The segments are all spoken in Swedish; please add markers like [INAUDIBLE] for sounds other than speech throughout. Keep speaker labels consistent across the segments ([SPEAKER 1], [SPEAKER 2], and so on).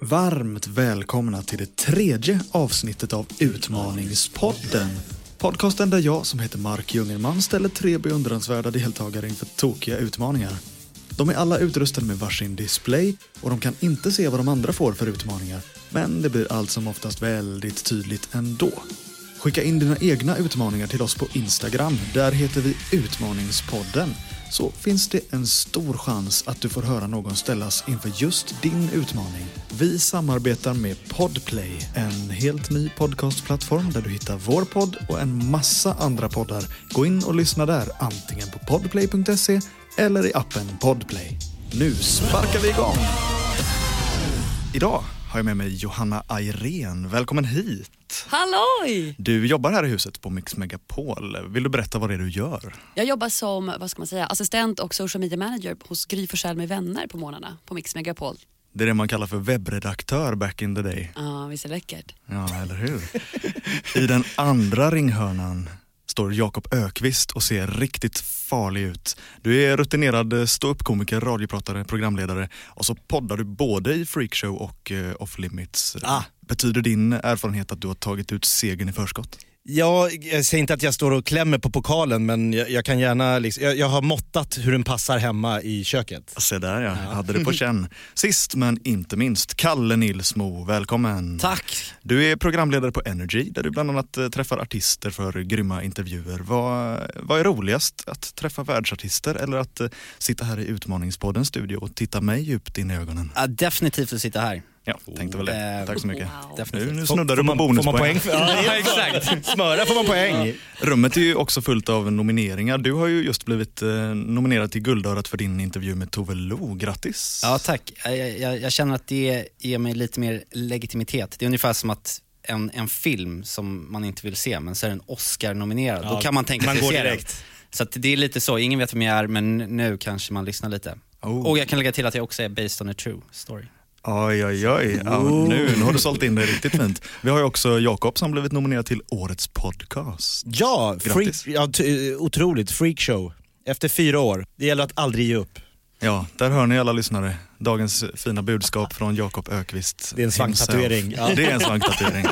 [SPEAKER 1] Varmt välkomna till det tredje avsnittet av Utmaningspodden. Podcasten där jag, som heter Mark Jungerman, ställer tre beundransvärda deltagare inför tokiga utmaningar. De är alla utrustade med varsin display och de kan inte se vad de andra får för utmaningar. Men det blir allt som oftast väldigt tydligt ändå. Skicka in dina egna utmaningar till oss på Instagram. Där heter vi Utmaningspodden. Så finns det en stor chans att du får höra någon ställas inför just din utmaning. Vi samarbetar med Podplay, en helt ny podcastplattform där du hittar vår podd och en massa andra poddar. Gå in och lyssna där, antingen på podplay.se eller i appen Podplay. Nu sparkar vi igång! Idag har jag med mig Johanna Ayrén. Välkommen hit!
[SPEAKER 2] Halloj!
[SPEAKER 1] Du jobbar här i huset på Mix Megapol. Vill du berätta vad det är du gör?
[SPEAKER 2] Jag jobbar som vad ska man säga, assistent och social media manager hos Gry Forssell med vänner på morgnarna på Mix Megapol.
[SPEAKER 1] Det är det man kallar för webbredaktör back in the day.
[SPEAKER 2] Ja, visst är det läckert?
[SPEAKER 1] Ja, eller hur? I den andra ringhörnan står Jakob Ökvist och ser riktigt farlig ut. Du är rutinerad ståuppkomiker, radiopratare, programledare och så poddar du både i Freakshow och eh, Off Limits.
[SPEAKER 3] Ah.
[SPEAKER 1] Betyder din erfarenhet att du har tagit ut segern i förskott?
[SPEAKER 3] Ja, jag säger inte att jag står och klämmer på pokalen men jag, jag kan gärna, liksom, jag, jag har måttat hur den passar hemma i köket.
[SPEAKER 1] Se där ja, jag hade det på känn. Sist men inte minst, Kalle Nilsmo, välkommen.
[SPEAKER 4] Tack!
[SPEAKER 1] Du är programledare på Energy där du bland annat eh, träffar artister för grymma intervjuer. Vad, vad är roligast, att träffa världsartister eller att eh, sitta här i Utmaningspoddens studio och titta mig djupt in i ögonen?
[SPEAKER 4] Ja, definitivt att sitta här.
[SPEAKER 1] Ja, tänkte väl det.
[SPEAKER 4] Eh,
[SPEAKER 1] Tack så mycket.
[SPEAKER 2] Wow.
[SPEAKER 1] Nu,
[SPEAKER 4] Definitivt.
[SPEAKER 1] nu
[SPEAKER 3] Får-
[SPEAKER 1] snuddar du
[SPEAKER 3] får
[SPEAKER 1] på
[SPEAKER 3] man- Får man poäng?
[SPEAKER 1] [LAUGHS] bonuspoäng.
[SPEAKER 3] För, ja, exakt. Smöra får man poäng.
[SPEAKER 1] Rummet är ju också fullt av nomineringar. Du har ju just blivit eh, nominerad till Guldörat för din intervju med Tove Lo. Grattis!
[SPEAKER 4] Ja, tack. Jag, jag, jag känner att det ger mig lite mer legitimitet. Det är ungefär som att en, en film som man inte vill se, men så är den Oscar-nominerad. Då
[SPEAKER 3] Ja,
[SPEAKER 4] kan man tänka
[SPEAKER 3] man
[SPEAKER 4] sig
[SPEAKER 3] går
[SPEAKER 4] se
[SPEAKER 3] direkt.
[SPEAKER 4] den. Så att det är lite så, ingen vet vem jag är, men nu kanske man lyssnar lite.
[SPEAKER 1] Oh.
[SPEAKER 4] Och jag kan lägga till att jag också är based on a true story.
[SPEAKER 1] Oj, oj, oj. Ja, nu, nu har du sålt in det riktigt fint. Vi har ju också Jakob som blivit nominerad till Årets podcast.
[SPEAKER 3] Ja, freak,
[SPEAKER 1] Grattis.
[SPEAKER 3] ja t- eh, otroligt. Freakshow. Efter fyra år. Det gäller att aldrig ge upp.
[SPEAKER 1] Ja, där hör ni alla lyssnare. Dagens fina budskap från Jakob Ökvist.
[SPEAKER 3] Det är en svanktatuering.
[SPEAKER 1] himself. Det är en
[SPEAKER 3] [LAUGHS]
[SPEAKER 1] svanktatuering.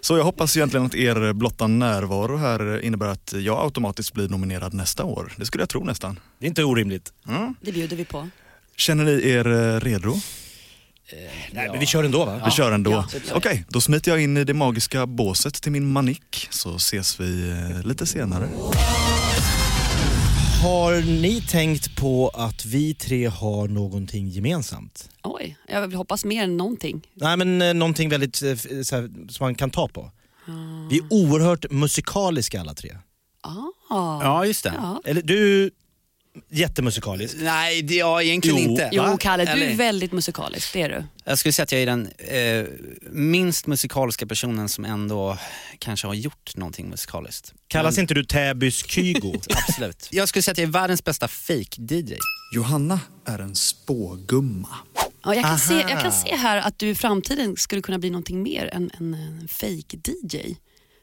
[SPEAKER 1] Så jag hoppas egentligen att er blotta närvaro här innebär att jag automatiskt blir nominerad nästa år. Det skulle jag tro nästan.
[SPEAKER 3] Det är inte orimligt.
[SPEAKER 2] Det bjuder vi på.
[SPEAKER 1] Känner ni er eh, redo?
[SPEAKER 3] Nej, men vi kör ändå va?
[SPEAKER 1] Vi kör ändå.
[SPEAKER 2] ja,
[SPEAKER 1] Okej, då smiter jag in i det magiska båset till min manick så ses vi eh, lite senare.
[SPEAKER 3] Har ni tänkt på att vi tre har någonting gemensamt?
[SPEAKER 2] Oj, jag vill hoppas mer än någonting.
[SPEAKER 3] Nej men eh, någonting väldigt eh, f- så här, som man kan ta på. Vi är oerhört musikaliska alla tre.
[SPEAKER 2] Ah.
[SPEAKER 4] Ja, just det.
[SPEAKER 2] Ja.
[SPEAKER 3] Eller du, jättemusikalisk.
[SPEAKER 4] Nej, det, ja, egentligen
[SPEAKER 3] Jo.
[SPEAKER 4] inte.
[SPEAKER 2] Jo
[SPEAKER 3] Va?
[SPEAKER 2] Kalle, du är
[SPEAKER 4] Eller-
[SPEAKER 2] väldigt musikalisk, det är du.
[SPEAKER 4] Jag skulle säga att jag är den eh, minst musikaliska personen som ändå kanske har gjort någonting musikaliskt.
[SPEAKER 3] Kallas inte du Täbys Kygo?
[SPEAKER 4] Absolut. Jag skulle säga att jag är världens bästa fake-DJ.
[SPEAKER 1] Johanna är en spågumma.
[SPEAKER 2] Ja, jag, kan se, jag kan se här att du i framtiden skulle kunna bli någonting mer än en, en fake DJ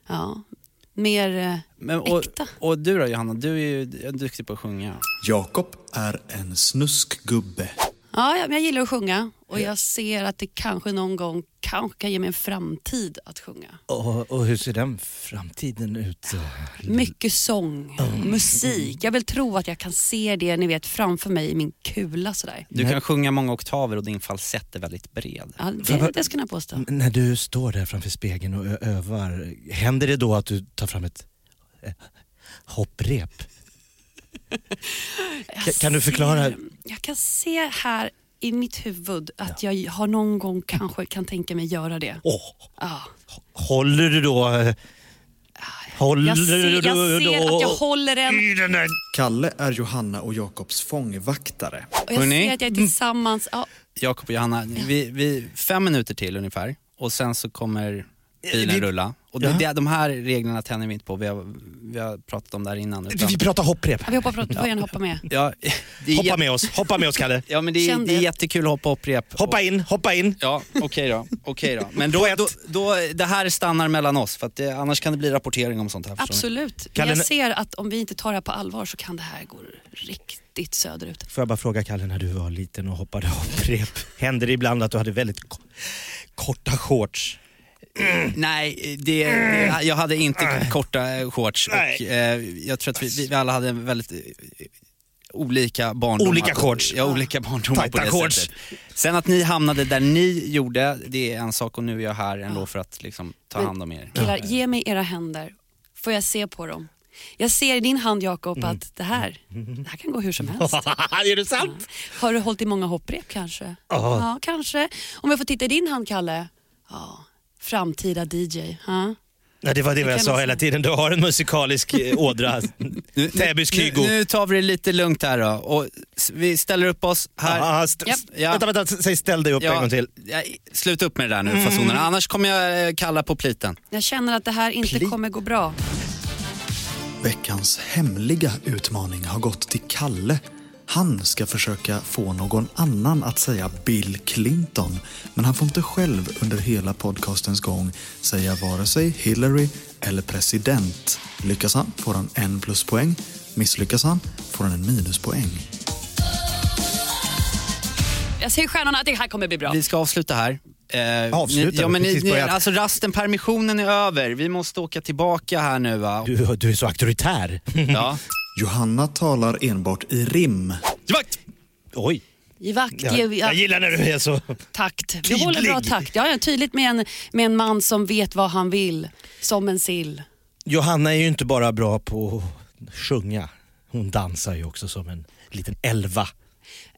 [SPEAKER 2] Ja, mer eh,
[SPEAKER 4] Men, och,
[SPEAKER 2] äkta.
[SPEAKER 4] och du då Johanna, du är ju duktig på att sjunga.
[SPEAKER 1] Jakob är en snuskgubbe.
[SPEAKER 2] Ja, jag, men jag gillar att sjunga och jag ser att det kanske någon gång kanske kan ge mig en framtid att sjunga.
[SPEAKER 3] och, och hur ser den framtiden ut?
[SPEAKER 2] Mycket sång, musik. Jag vill tro att jag kan se det ni vet framför mig i min kula sådär.
[SPEAKER 4] Du kan sjunga många oktaver och din falsett är väldigt bred.
[SPEAKER 2] Ja, det, det ska jag påstå.
[SPEAKER 3] När du står där framför spegeln och ö- övar, händer det då att du tar fram ett eh,
[SPEAKER 2] [LAUGHS]
[SPEAKER 3] hopprep? Ka- kan du förklara?
[SPEAKER 2] Jag kan se här i mitt huvud att jag har någon gång kanske kan tänka mig göra det.
[SPEAKER 3] Åh,
[SPEAKER 2] Ja.
[SPEAKER 3] håller du då... eh, Håller
[SPEAKER 2] Jag, ser, jag
[SPEAKER 3] du
[SPEAKER 2] ser att jag
[SPEAKER 3] då...
[SPEAKER 2] håller en
[SPEAKER 3] i den där...
[SPEAKER 1] Kalle är Johanna och Jakobs fångvaktare.
[SPEAKER 2] och jag
[SPEAKER 4] Hörrni?
[SPEAKER 2] ser att jag är tillsammans. Ja,
[SPEAKER 4] Jakob och Johanna, vi, vi, fem minuter till ungefär och sen så kommer bilen
[SPEAKER 3] Vi-
[SPEAKER 4] rulla Och det,
[SPEAKER 3] Ja.
[SPEAKER 4] det, de här reglerna tänder vi inte på, vi har, vi har pratat om det här innan.
[SPEAKER 3] Vi, vi pratar hopprep.
[SPEAKER 2] Vi hoppar på, du får gärna hoppa med.
[SPEAKER 4] ja, det är
[SPEAKER 3] Hoppa
[SPEAKER 4] jä-
[SPEAKER 3] med oss, hoppa med oss Kalle.
[SPEAKER 4] Ja men det är,
[SPEAKER 2] Känn
[SPEAKER 4] det är
[SPEAKER 2] det.
[SPEAKER 4] jättekul att hoppa upprep.
[SPEAKER 3] Hoppa in, hoppa in.
[SPEAKER 4] Ja, okej då. Okej då. Men då, då, då, det här stannar mellan oss för att det, annars kan det bli rapportering om sånt här. förstår ni?
[SPEAKER 2] Absolut. Men
[SPEAKER 3] Kalle,
[SPEAKER 2] jag
[SPEAKER 3] nu-
[SPEAKER 2] ser att om vi inte tar det här på allvar så kan det här gå riktigt söderut.
[SPEAKER 3] Får jag bara fråga Kalle, när du var liten och hoppade [LAUGHS] hopprep, hände det ibland att du hade väldigt ko- korta
[SPEAKER 4] [LAUGHS]
[SPEAKER 3] shorts?
[SPEAKER 4] Nej, det, det, jag hade inte korta eh, shorts och
[SPEAKER 3] Nej.
[SPEAKER 4] eh, jag tror att vi, vi alla hade en väldigt eh, olika barndomar.
[SPEAKER 3] Olika shorts.
[SPEAKER 4] Ja, olika barndomar på
[SPEAKER 3] Tajta
[SPEAKER 4] det
[SPEAKER 3] shorts.
[SPEAKER 4] sättet. Sen att ni hamnade där ni gjorde, det är en sak och nu är jag här ändå för att liksom, ta
[SPEAKER 2] Men-
[SPEAKER 4] hand om er.
[SPEAKER 2] Killar, ge mig era händer. Får jag se på dem? Jag ser i din hand Jakob
[SPEAKER 3] Mm.
[SPEAKER 2] att det här, det här kan gå hur
[SPEAKER 3] [LAUGHS]
[SPEAKER 2] som helst.
[SPEAKER 3] är det sant?
[SPEAKER 2] Har du hållit i många hopprep kanske? Ja, kanske. Om jag får titta i din hand Kalle? Ja, framtida DJ. Ja.
[SPEAKER 3] Ja, det var det,
[SPEAKER 2] kan
[SPEAKER 3] jag sa
[SPEAKER 2] man
[SPEAKER 3] hela
[SPEAKER 2] säga.
[SPEAKER 3] tiden, du har en musikalisk eh, ådra. Täbys
[SPEAKER 4] Nu,
[SPEAKER 3] Kygo.
[SPEAKER 4] nu tar vi det lite lugnt här då och s- vi ställer upp oss här.
[SPEAKER 3] Ah, st-
[SPEAKER 2] Japp.
[SPEAKER 4] Ja.
[SPEAKER 3] Vänta, vänta, säg ställ dig upp en gång till. Mm.
[SPEAKER 4] ja, sluta upp med det där nu fasonerna, annars kommer jag eh, kalla på pliten.
[SPEAKER 2] Jag känner att det här inte
[SPEAKER 3] Pli-
[SPEAKER 2] kommer gå bra.
[SPEAKER 1] Veckans hemliga utmaning har gått till Kalle. Han ska försöka få någon annan att säga Bill Clinton. Men han får inte själv under hela podcastens gång säga vare sig Hillary eller president. Lyckas han får han en pluspoäng. Misslyckas han får han en minuspoäng.
[SPEAKER 2] Jag ser i stjärnorna att det här kommer bli bra.
[SPEAKER 4] Vi ska avsluta här. Eh,
[SPEAKER 3] Avsluta,
[SPEAKER 4] ni, ja, men ni,
[SPEAKER 3] precis
[SPEAKER 4] ni,
[SPEAKER 3] börjat.
[SPEAKER 4] alltså rasten, permissionen är över. Vi måste åka tillbaka här nu va?
[SPEAKER 3] Du, du är så auktoritär.
[SPEAKER 4] Ja.
[SPEAKER 1] Johanna talar enbart i rim.
[SPEAKER 3] Givakt! Oj.
[SPEAKER 2] Givakt,
[SPEAKER 3] Ja.
[SPEAKER 2] ge- ja,
[SPEAKER 3] Jag gillar när du är så...
[SPEAKER 2] takt. Vi
[SPEAKER 3] Tydlig.
[SPEAKER 2] håller bra takt. Ja, ja, tydligt med en, med en man som vet vad han vill. Som en sill.
[SPEAKER 3] Johanna är ju inte bara bra på att sjunga. Hon dansar ju också som en liten elva.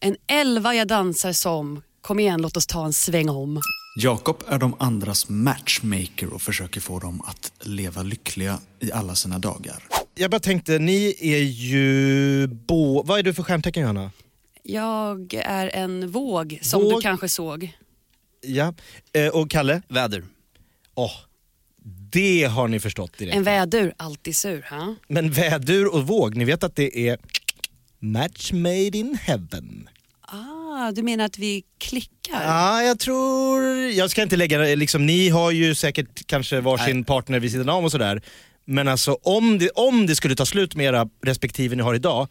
[SPEAKER 2] En elva jag dansar som. Kom igen, låt oss ta en sväng om.
[SPEAKER 1] Jakob är de andras matchmaker och försöker få dem att leva lyckliga i alla sina dagar.
[SPEAKER 3] Jag bara tänkte, ni är ju bo... Vad är du för stjärntecken Johanna?
[SPEAKER 2] Jag är en våg som
[SPEAKER 3] Våg.
[SPEAKER 2] du kanske såg.
[SPEAKER 3] Ja. Eh, och Kalle?
[SPEAKER 4] Väder.
[SPEAKER 3] Åh, det har ni förstått direkt.
[SPEAKER 2] En vädur, alltid sur. Ha?
[SPEAKER 3] Men vädur och våg, ni vet att det är match made in heaven.
[SPEAKER 2] Ah, du menar att vi klickar?
[SPEAKER 4] Ah.
[SPEAKER 3] Ja, jag tror... Jag ska inte lägga... Liksom, ni har ju säkert kanske varsin
[SPEAKER 4] Nej.
[SPEAKER 3] partner vid sidan om och sådär. Men alltså om det, om det skulle ta slut med era respektive ni har idag,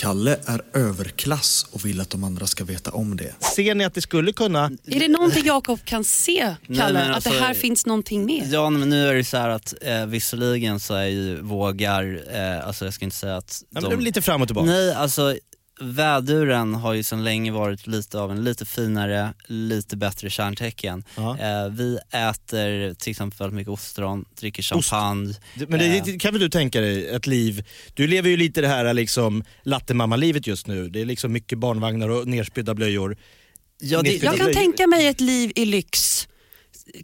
[SPEAKER 1] Kalle är överklass och vill att de andra ska veta om det.
[SPEAKER 3] ser ni att det skulle kunna...
[SPEAKER 2] Är det någonting Jakob kan se,
[SPEAKER 4] Nej,
[SPEAKER 2] Kalle?
[SPEAKER 4] men
[SPEAKER 2] att
[SPEAKER 4] alltså-
[SPEAKER 2] det här finns någonting med?
[SPEAKER 4] Ja men nu är det så här att eh, visserligen så är ju vågar, eh, alltså jag ska inte säga att
[SPEAKER 3] Ja, men det blir lite fram och tillbaka.
[SPEAKER 4] Nej alltså väduren har ju sedan länge varit lite av en lite finare, lite bättre kärntecken.
[SPEAKER 3] Ja.
[SPEAKER 4] Eh, vi äter till exempel väldigt mycket ostron, dricker champagne.
[SPEAKER 3] Det- Men det,
[SPEAKER 4] Eh.
[SPEAKER 3] det kan väl du tänka dig, ett liv... Du lever ju lite det här liksom, lattemamma-livet just nu. Det är liksom mycket barnvagnar och nerspydda blöjor.
[SPEAKER 4] Ja, det,
[SPEAKER 3] Nitpigg.
[SPEAKER 2] Jag kan
[SPEAKER 3] det-
[SPEAKER 2] tänka mig ett liv i lyx.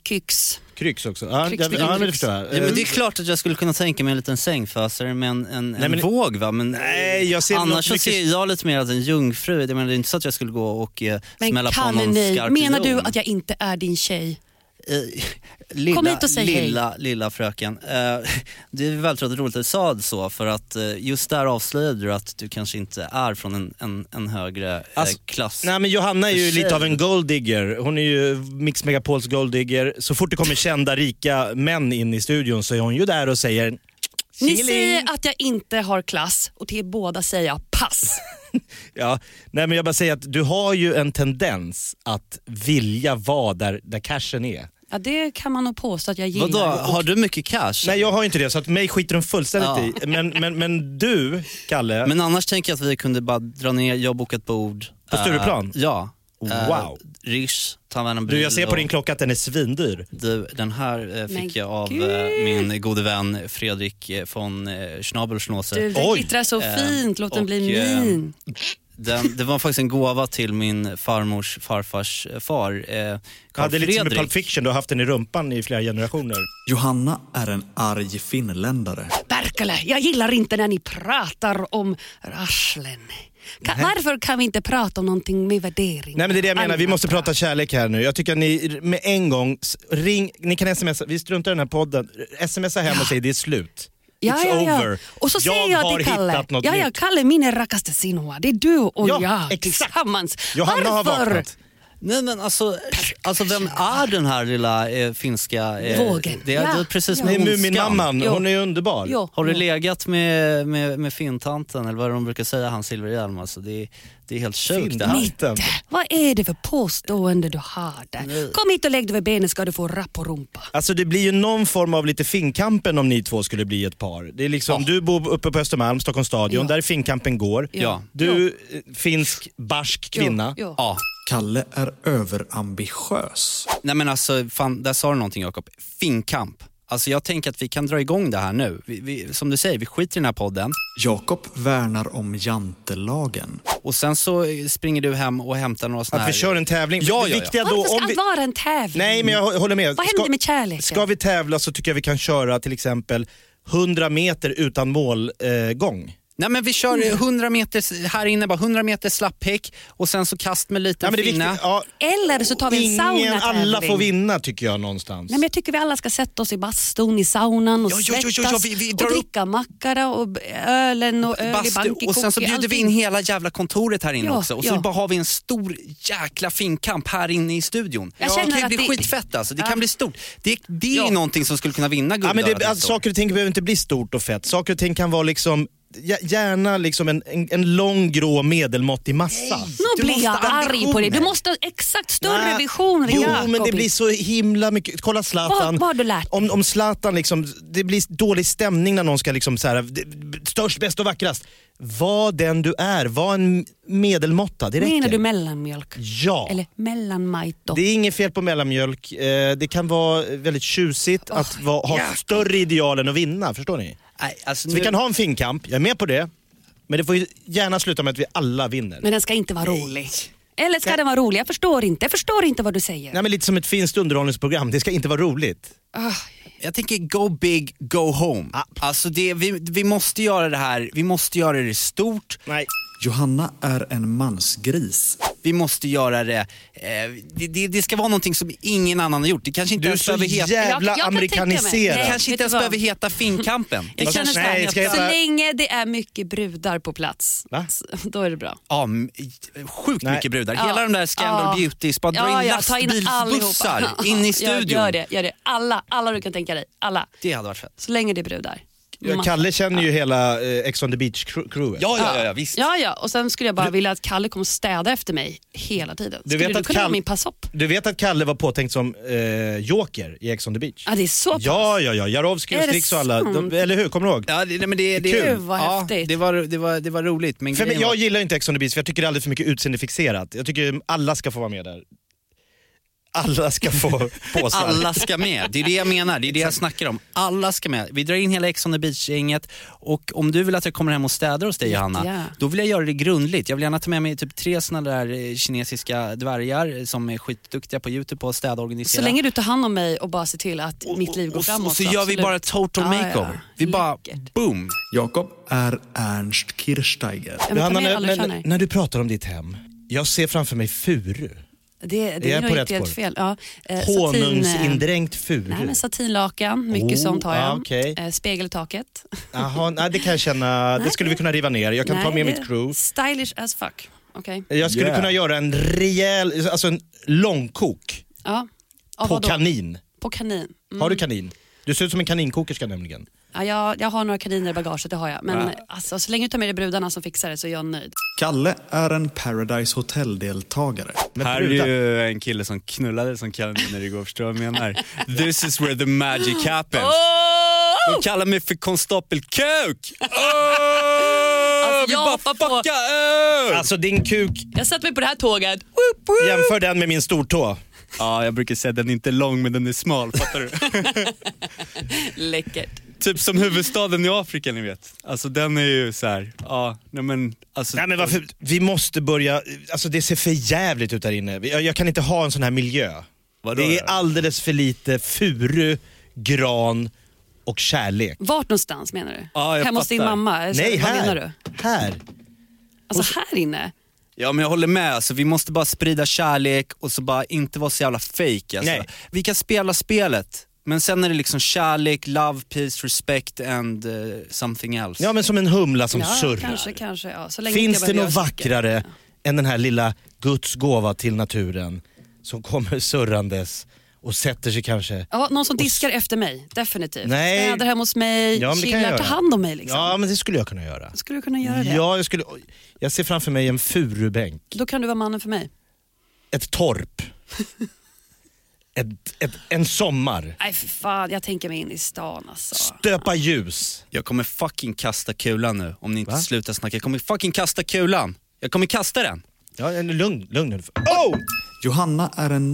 [SPEAKER 2] Kyx.
[SPEAKER 3] Kryx också. Ja,
[SPEAKER 2] Kryx,
[SPEAKER 3] jag,
[SPEAKER 2] kryx,
[SPEAKER 3] ja men det
[SPEAKER 2] kryx.
[SPEAKER 3] förstår jag. Eh,
[SPEAKER 4] Ja, men det är klart att jag skulle kunna tänka mig en liten sängfösare med en, en,
[SPEAKER 3] Nej,
[SPEAKER 4] en
[SPEAKER 3] men-
[SPEAKER 4] våg va? Men
[SPEAKER 3] Nej, jag ser något
[SPEAKER 4] annars så
[SPEAKER 3] mycket-
[SPEAKER 4] ser jag lite mer att en jungfru, det, men det är inte så att jag skulle gå och eh,
[SPEAKER 2] Men
[SPEAKER 4] smälla på
[SPEAKER 2] Kalle,
[SPEAKER 4] någon
[SPEAKER 2] nej.
[SPEAKER 4] skarp
[SPEAKER 2] Menar du
[SPEAKER 4] jon.
[SPEAKER 2] att jag inte är din tjej?
[SPEAKER 4] Eh, lilla,
[SPEAKER 2] Kom hit och säg hej.
[SPEAKER 4] lilla, lilla fröken, eh, [LAUGHS] det är väldigt roligt att du sa det så för att eh, just där avslöjade du att du kanske inte är från en, en, en högre eh,
[SPEAKER 3] Alltså,
[SPEAKER 4] klass.
[SPEAKER 3] Nej men Johanna är ju
[SPEAKER 4] För sig.
[SPEAKER 3] lite av en golddigger. Hon är ju Mix Megapols golddigger. Så fort det kommer kända rika män in i studion så är hon ju där och säger
[SPEAKER 2] Ni
[SPEAKER 3] "Tjingeling."
[SPEAKER 2] säger att jag inte har klass och till båda säger jag
[SPEAKER 4] [LAUGHS]
[SPEAKER 2] pass.
[SPEAKER 3] Ja, nej men jag bara säger att du har ju en tendens att vilja vara där, där cashen är.
[SPEAKER 2] Ja, det kan man nog påstå att jag gillar.
[SPEAKER 4] Vadå, har du mycket cash?
[SPEAKER 3] Nej jag har ju inte det så att mig skiter de fullständigt i. Men, men, men du, Kalle,
[SPEAKER 4] Men annars tänker jag att vi kunde bara dra ner, jag har bokat bord.
[SPEAKER 3] På Stureplan?
[SPEAKER 4] Eh, ja. Eh,
[SPEAKER 3] Wow.
[SPEAKER 4] Rish, ta med en
[SPEAKER 3] du,
[SPEAKER 4] bil
[SPEAKER 3] jag ser på
[SPEAKER 4] och-
[SPEAKER 3] din klocka att den är svindyr.
[SPEAKER 4] Du, den här eh,
[SPEAKER 2] Men
[SPEAKER 4] fick jag av
[SPEAKER 2] gud.
[SPEAKER 4] eh, min gode vän Fredrik eh, von eh, Schnabelschnauzer.
[SPEAKER 2] Du, den
[SPEAKER 3] Oj.
[SPEAKER 2] glittrar så
[SPEAKER 4] Eh,
[SPEAKER 2] fint, låt den
[SPEAKER 4] och,
[SPEAKER 2] bli
[SPEAKER 4] eh,
[SPEAKER 2] min.
[SPEAKER 4] Den, det var faktiskt en gåva till min farmors farfars eh, far, eh,
[SPEAKER 3] Ja,
[SPEAKER 4] Carl
[SPEAKER 3] det är lite som med Pulp
[SPEAKER 4] Fredrik.
[SPEAKER 3] Fiction, du har haft den i rumpan i flera generationer.
[SPEAKER 1] Johanna är en arg finländare.
[SPEAKER 2] Berkele, jag gillar inte när ni pratar om rasslen. Ka- varför kan vi inte prata om någonting med värdering?
[SPEAKER 3] Nej men det är det jag menar, vi
[SPEAKER 2] Annat
[SPEAKER 3] måste
[SPEAKER 2] bra.
[SPEAKER 3] prata kärlek här nu. Jag tycker att ni med en gång, s- ring, ni kan smsa, vi struntar i den här podden, smsa hem och säg det är slut.
[SPEAKER 2] Ja,
[SPEAKER 3] It's
[SPEAKER 2] ja, ja.
[SPEAKER 3] over.
[SPEAKER 2] Och så
[SPEAKER 3] jag
[SPEAKER 2] säger jag
[SPEAKER 3] har
[SPEAKER 2] till Kalle,
[SPEAKER 3] hittat något
[SPEAKER 2] ja,
[SPEAKER 3] nytt.
[SPEAKER 2] ja, Kalle min rackaste Sinoa, det är du och
[SPEAKER 3] Ja,
[SPEAKER 2] jag
[SPEAKER 3] exakt.
[SPEAKER 2] tillsammans.
[SPEAKER 3] Johanna har
[SPEAKER 2] Varför?
[SPEAKER 3] vaknat.
[SPEAKER 4] Nej men alltså, alltså vem är den här lilla eh, finska... Eh,
[SPEAKER 2] Vågen.
[SPEAKER 4] Det är,
[SPEAKER 2] Ja,
[SPEAKER 4] det är precis
[SPEAKER 2] ja.
[SPEAKER 4] med
[SPEAKER 3] Det är
[SPEAKER 4] ondskan.
[SPEAKER 3] Muminmamman,
[SPEAKER 2] Jo.
[SPEAKER 3] hon är underbar.
[SPEAKER 2] Jo.
[SPEAKER 4] Har du legat med, med, med fintanten eller vad de brukar säga, han Silverhjelm alltså, det, är- det är helt sjukt det här.
[SPEAKER 3] Fintanten.
[SPEAKER 2] Vad är det för påstående du har där? Kom hit och lägg dig vid benen ska du få rapp och rumpa.
[SPEAKER 3] Alltså det blir ju någon form av lite Finnkampen om ni två skulle bli ett par. Det är liksom, du bor uppe på Östermalm, Stockholms stadion,
[SPEAKER 2] Ja.
[SPEAKER 3] där Finnkampen går.
[SPEAKER 4] Ja.
[SPEAKER 3] Du, eh, finsk, barsk
[SPEAKER 2] Jo,
[SPEAKER 3] kvinna.
[SPEAKER 2] jo.
[SPEAKER 4] Ja.
[SPEAKER 1] Kalle är överambitiös.
[SPEAKER 4] Nej men alltså, fan, där sa du någonting Jakob. Finkamp. Alltså jag tänker att vi kan dra igång det här nu. Vi, vi, som du säger, vi skiter i den här podden
[SPEAKER 1] Jakob värnar om jantelagen.
[SPEAKER 4] och sen så eh, springer du hem och hämtar några sådana
[SPEAKER 3] Att vi kör en tävling.
[SPEAKER 4] Ja,
[SPEAKER 3] Det
[SPEAKER 4] ja, ja.
[SPEAKER 3] viktiga då,
[SPEAKER 2] Varför ska
[SPEAKER 3] om vi...
[SPEAKER 2] allt vara en tävling?
[SPEAKER 3] Nej men jag hå- håller med.
[SPEAKER 2] Vad händer med kärleken?
[SPEAKER 3] Ska vi tävla så tycker jag vi kan köra till exempel 100 meter utan målgång. Eh, gång.
[SPEAKER 4] Nej men vi kör eh, 100 meter här inne bara, 100 meter slapphäck och sen så kast med lite
[SPEAKER 3] Nej, men det är
[SPEAKER 4] finna.
[SPEAKER 3] viktigt. Ja,
[SPEAKER 2] Eller så tar vi en
[SPEAKER 3] ingen,
[SPEAKER 2] saunatävling.
[SPEAKER 3] alla får vinna tycker jag någonstans.
[SPEAKER 2] Nej, men jag tycker vi alla ska sätta oss i bastun, i saunan och
[SPEAKER 4] Ja, ja, ja, ja,
[SPEAKER 2] svettas
[SPEAKER 4] ja, vi- vi drar
[SPEAKER 2] och
[SPEAKER 4] upp-
[SPEAKER 2] dricka mackara och b- ölen och öl i
[SPEAKER 4] Bastu,
[SPEAKER 2] Eh, bank i
[SPEAKER 4] och sen så
[SPEAKER 2] kock i
[SPEAKER 4] bjuder vi
[SPEAKER 2] allting.
[SPEAKER 4] in hela jävla kontoret här inne
[SPEAKER 2] Ja,
[SPEAKER 4] också och så
[SPEAKER 2] ja.
[SPEAKER 4] bara har vi en stor jäkla finkamp här inne i studion.
[SPEAKER 2] Jag
[SPEAKER 4] det
[SPEAKER 2] känner
[SPEAKER 4] kan ju
[SPEAKER 2] att
[SPEAKER 4] bli
[SPEAKER 2] det-
[SPEAKER 4] skitfett alltså, det
[SPEAKER 2] Ja.
[SPEAKER 4] kan bli stort. Det, det är
[SPEAKER 2] Ja.
[SPEAKER 4] ju någonting som skulle kunna vinna
[SPEAKER 3] Ja, men
[SPEAKER 4] Guldörat
[SPEAKER 3] det,
[SPEAKER 4] nästa
[SPEAKER 3] alltså,
[SPEAKER 4] år.
[SPEAKER 3] saker och ting behöver inte bli stort och fett. Saker och ting kan vara liksom, ja, gärna liksom en, en, en lång grå medelmåttig massa.
[SPEAKER 2] Nu
[SPEAKER 4] Du
[SPEAKER 2] blir
[SPEAKER 4] måste
[SPEAKER 2] jag
[SPEAKER 4] ha
[SPEAKER 2] arg på dig. Du
[SPEAKER 4] ambitioner.
[SPEAKER 2] måste ha exakt större
[SPEAKER 3] Nej.
[SPEAKER 2] vision
[SPEAKER 3] Jo,
[SPEAKER 2] Jakob.
[SPEAKER 3] men det blir så himla mycket. Kolla Zlatan.
[SPEAKER 2] Vad- vad har du lärt dig?
[SPEAKER 3] Om, om Zlatan liksom, det blir dålig stämning när någon ska liksom så här, det- störst, bäst och vackrast. Var den du är, var en medelmåtta. Det räcker.
[SPEAKER 2] Menar du mellanmjölk?
[SPEAKER 3] Ja.
[SPEAKER 2] Eller mellanmajto?
[SPEAKER 3] Det är inget fel på mellanmjölk. Eh, Det kan vara väldigt tjusigt att va, ha större ideal än att vinna. Förstår ni?
[SPEAKER 4] Nej, alltså,
[SPEAKER 3] Så
[SPEAKER 4] nu...
[SPEAKER 3] vi kan ha en fin kamp, jag är med på det. Men det får ju gärna sluta med att vi alla vinner.
[SPEAKER 2] Men den ska inte vara rolig. Eller ska den vara rolig? Jag förstår inte. Jag förstår inte vad du säger.
[SPEAKER 3] Nej men lite som ett finskt underhållningsprogram, det ska inte vara roligt.
[SPEAKER 2] Ah,
[SPEAKER 4] Jag tänker go big, go home. Alltså det, vi, vi måste göra det här, vi måste göra det stort,
[SPEAKER 3] Nej.
[SPEAKER 1] Johanna är en mansgris.
[SPEAKER 4] vi måste göra det, eh, det, det, det ska vara någonting som ingen annan har gjort. Det kanske inte
[SPEAKER 3] Du är
[SPEAKER 4] ens
[SPEAKER 3] så
[SPEAKER 4] behöver heta,
[SPEAKER 2] Jag- jag
[SPEAKER 3] jävla
[SPEAKER 2] kan tänka
[SPEAKER 4] det
[SPEAKER 2] mig.
[SPEAKER 3] amerikaniserad.
[SPEAKER 4] kanske
[SPEAKER 2] Vet du
[SPEAKER 4] inte ens
[SPEAKER 2] vad?
[SPEAKER 4] behöver heta finkampen.
[SPEAKER 2] jag känner så,
[SPEAKER 3] Nej,
[SPEAKER 2] här.
[SPEAKER 3] ska jag
[SPEAKER 2] så
[SPEAKER 3] bara-
[SPEAKER 2] länge det är mycket brudar på plats,
[SPEAKER 3] Va?
[SPEAKER 2] s- då är det bra.
[SPEAKER 4] Ja, m- sjukt
[SPEAKER 3] Nej.
[SPEAKER 4] mycket brudar.
[SPEAKER 2] Ja.
[SPEAKER 4] Hela de där Scandal
[SPEAKER 2] Ja.
[SPEAKER 4] Beauty, bara dra in
[SPEAKER 2] ta
[SPEAKER 4] lastbilsbussar
[SPEAKER 2] allihopa.
[SPEAKER 4] in i
[SPEAKER 2] Ja,
[SPEAKER 4] studion.
[SPEAKER 2] Gör det, gör det. Alla, alla du kan tänka dig. Alla.
[SPEAKER 4] Det hade varit fett.
[SPEAKER 2] Så länge det är brudar.
[SPEAKER 3] Ja,
[SPEAKER 2] Massa.
[SPEAKER 3] Kalle känner ju hela eh, Ex on the beach crew- crewet.
[SPEAKER 4] Ja, ja, ja, ja visst.
[SPEAKER 2] Ja, ja. Och sen skulle jag bara vilja att Kalle kommer städa efter mig hela tiden.
[SPEAKER 3] Du
[SPEAKER 2] Skulle
[SPEAKER 3] vet
[SPEAKER 2] du
[SPEAKER 3] att
[SPEAKER 2] kunna vara
[SPEAKER 3] Kalle-
[SPEAKER 2] min passopp?
[SPEAKER 3] Du vet att Kalle var påtänkt som eh, joker i Ex on the beach?
[SPEAKER 2] Ja, det är så pass.
[SPEAKER 3] Ja, ja, ja. Jarowski och
[SPEAKER 2] Är det
[SPEAKER 3] Strix och alla.
[SPEAKER 2] sant?
[SPEAKER 3] De, eller hur? Kommer du ihåg?
[SPEAKER 4] Ja, det, nej, men det, det,
[SPEAKER 3] Kul.
[SPEAKER 2] Gud, vad
[SPEAKER 4] ja,
[SPEAKER 2] häftigt.
[SPEAKER 4] Det var, det, var, det var roligt. Men
[SPEAKER 3] För mig,
[SPEAKER 4] grejen
[SPEAKER 3] jag
[SPEAKER 4] var,
[SPEAKER 3] gillar inte Ex on the beach för jag tycker det är alldeles för mycket utseendefixerat. Jag tycker alla ska få vara med där. Alla ska få
[SPEAKER 4] [LAUGHS]
[SPEAKER 3] påsar.
[SPEAKER 4] alla ska med. Det är det jag menar. Det är det jag snackar om. Alla ska med. Vi drar in hela Ex on the beach-gänget och om du vill att jag kommer hem och städar hos dig Johanna,
[SPEAKER 2] Jättegärna.
[SPEAKER 4] då vill jag göra det grundligt. Jag vill gärna ta med mig typ tre sådana där eh, kinesiska dvärgar eh, som är skitduktiga på YouTube på att städa och
[SPEAKER 2] Så
[SPEAKER 4] organisera.
[SPEAKER 2] länge du tar hand om mig och bara ser till att mitt liv går
[SPEAKER 4] och,
[SPEAKER 2] framåt.
[SPEAKER 4] Och så gör vi
[SPEAKER 2] absolut.
[SPEAKER 4] bara total
[SPEAKER 2] Ja, ja.
[SPEAKER 4] makeover. Vi bara
[SPEAKER 2] Läckert.
[SPEAKER 4] boom.
[SPEAKER 1] Jakob är Ernst Kirchsteiger.
[SPEAKER 2] Ja, men ta
[SPEAKER 3] Johanna,
[SPEAKER 2] med
[SPEAKER 3] när,
[SPEAKER 2] alla du
[SPEAKER 3] när,
[SPEAKER 2] känner.
[SPEAKER 3] när du pratar om ditt hem, jag ser framför mig furu.
[SPEAKER 2] Det,
[SPEAKER 3] jag
[SPEAKER 2] det
[SPEAKER 3] är
[SPEAKER 2] är nog
[SPEAKER 3] på
[SPEAKER 2] inte
[SPEAKER 3] rätt
[SPEAKER 2] helt
[SPEAKER 3] spår.
[SPEAKER 2] fel. Ja, eh, satin, eh,
[SPEAKER 3] Honungsindränkt furu.
[SPEAKER 2] Nej men satinlakan, mycket
[SPEAKER 3] Oh,
[SPEAKER 2] sånt har jag.
[SPEAKER 3] ah, okej.
[SPEAKER 2] Eh, spegel i taket.
[SPEAKER 3] Jaha, nej, det kan jag känna, det skulle vi kunna riva ner. Jag kan ta
[SPEAKER 2] Nej,
[SPEAKER 3] med mitt crew.
[SPEAKER 2] Stylish as fuck. Okej.
[SPEAKER 3] Jag skulle
[SPEAKER 1] Yeah.
[SPEAKER 3] kunna göra en rejäl, alltså en långkok
[SPEAKER 2] Ja. Av
[SPEAKER 3] på
[SPEAKER 2] vadå?
[SPEAKER 3] kanin.
[SPEAKER 2] på kanin. Mm.
[SPEAKER 3] Har du kanin? Du ser ut som en kaninkokerska nämligen.
[SPEAKER 2] Ja, jag, jag har några kaniner i bagaget, det har jag. Men alltså, så länge du tar med dig brudarna som fixar det så är jag nöjd.
[SPEAKER 1] Kalle är en Paradise Hotel-deltagare.
[SPEAKER 3] Men
[SPEAKER 4] Här är
[SPEAKER 3] brudar-
[SPEAKER 4] ju en kille som knullade som kaniner igår, förstår du vad jag menar? This is where the [GASPS] magic happens.
[SPEAKER 2] Oh!
[SPEAKER 4] De kallar mig för konstapel [LAUGHS] Kuk! Oh! Vi
[SPEAKER 2] jag
[SPEAKER 4] bara
[SPEAKER 2] hoppar på-
[SPEAKER 4] fucka öl!
[SPEAKER 3] Alltså din kuk,
[SPEAKER 2] Jag sätter mig på det här tåget. Woop, woop.
[SPEAKER 3] jämför den med min stortå.
[SPEAKER 4] Ja, jag brukar säga att den är inte lång men den är smal, fattar [LAUGHS] du?
[SPEAKER 2] Läckert.
[SPEAKER 4] typ som huvudstaden i Afrika ni vet. Alltså den är ju så här. ja, nej men alltså.
[SPEAKER 3] Nej men varför, vi måste börja, alltså det ser för jävligt ut där inne. Jag, jag kan inte ha en sån här miljö.
[SPEAKER 4] Vadå
[SPEAKER 3] det är
[SPEAKER 4] då?
[SPEAKER 3] alldeles för lite furu, gran och kärlek.
[SPEAKER 2] Vart någonstans menar du?
[SPEAKER 4] Ja, jag
[SPEAKER 2] Hemma hos din
[SPEAKER 4] fattar.
[SPEAKER 2] mamma? Så-
[SPEAKER 3] Nej,
[SPEAKER 2] vad menar du?
[SPEAKER 3] här. Här.
[SPEAKER 2] Alltså här inne.
[SPEAKER 4] Ja men jag håller med, alltså, vi måste bara sprida kärlek och så bara inte vara så jävla fake. Alltså.
[SPEAKER 3] Nej.
[SPEAKER 4] Vi kan spela spelet, men sen är det liksom kärlek, love, peace, respect and eh, something else.
[SPEAKER 3] Ja men som en humla som
[SPEAKER 2] ja,
[SPEAKER 3] surrar.
[SPEAKER 2] Kanske, kanske. Ja. Så länge
[SPEAKER 3] Finns
[SPEAKER 2] inte
[SPEAKER 3] det
[SPEAKER 2] jag
[SPEAKER 3] något
[SPEAKER 2] behöver göra så mycket.
[SPEAKER 3] vackrare än den här lilla Guds gåva till naturen som kommer surrandes och sätter sig kanske?
[SPEAKER 2] Ja, någon som diskar efter mig, definitivt.
[SPEAKER 3] Nej.
[SPEAKER 2] Städar hemma hos mig,
[SPEAKER 3] Ja, men det kan jag
[SPEAKER 2] chillar, tar
[SPEAKER 3] göra.
[SPEAKER 2] hand om mig. Liksom.
[SPEAKER 3] Ja men det skulle jag kunna göra.
[SPEAKER 2] Skulle du kunna göra det?
[SPEAKER 3] Ja, jag, skulle, oj, jag ser framför mig en furubänk,
[SPEAKER 2] Då kan du vara mannen för mig.
[SPEAKER 3] ett torp, ett, ett, en sommar,
[SPEAKER 2] Nej för fan, jag tänker mig in i stan alltså.
[SPEAKER 3] stöpa ljus.
[SPEAKER 4] Jag kommer fucking kasta kulan nu om ni inte
[SPEAKER 3] Va?
[SPEAKER 4] slutar snacka. Jag kommer fucking kasta kulan. Jag kommer kasta den.
[SPEAKER 3] Ja, en- lugn, lugn nu. Oh!
[SPEAKER 1] Johanna är en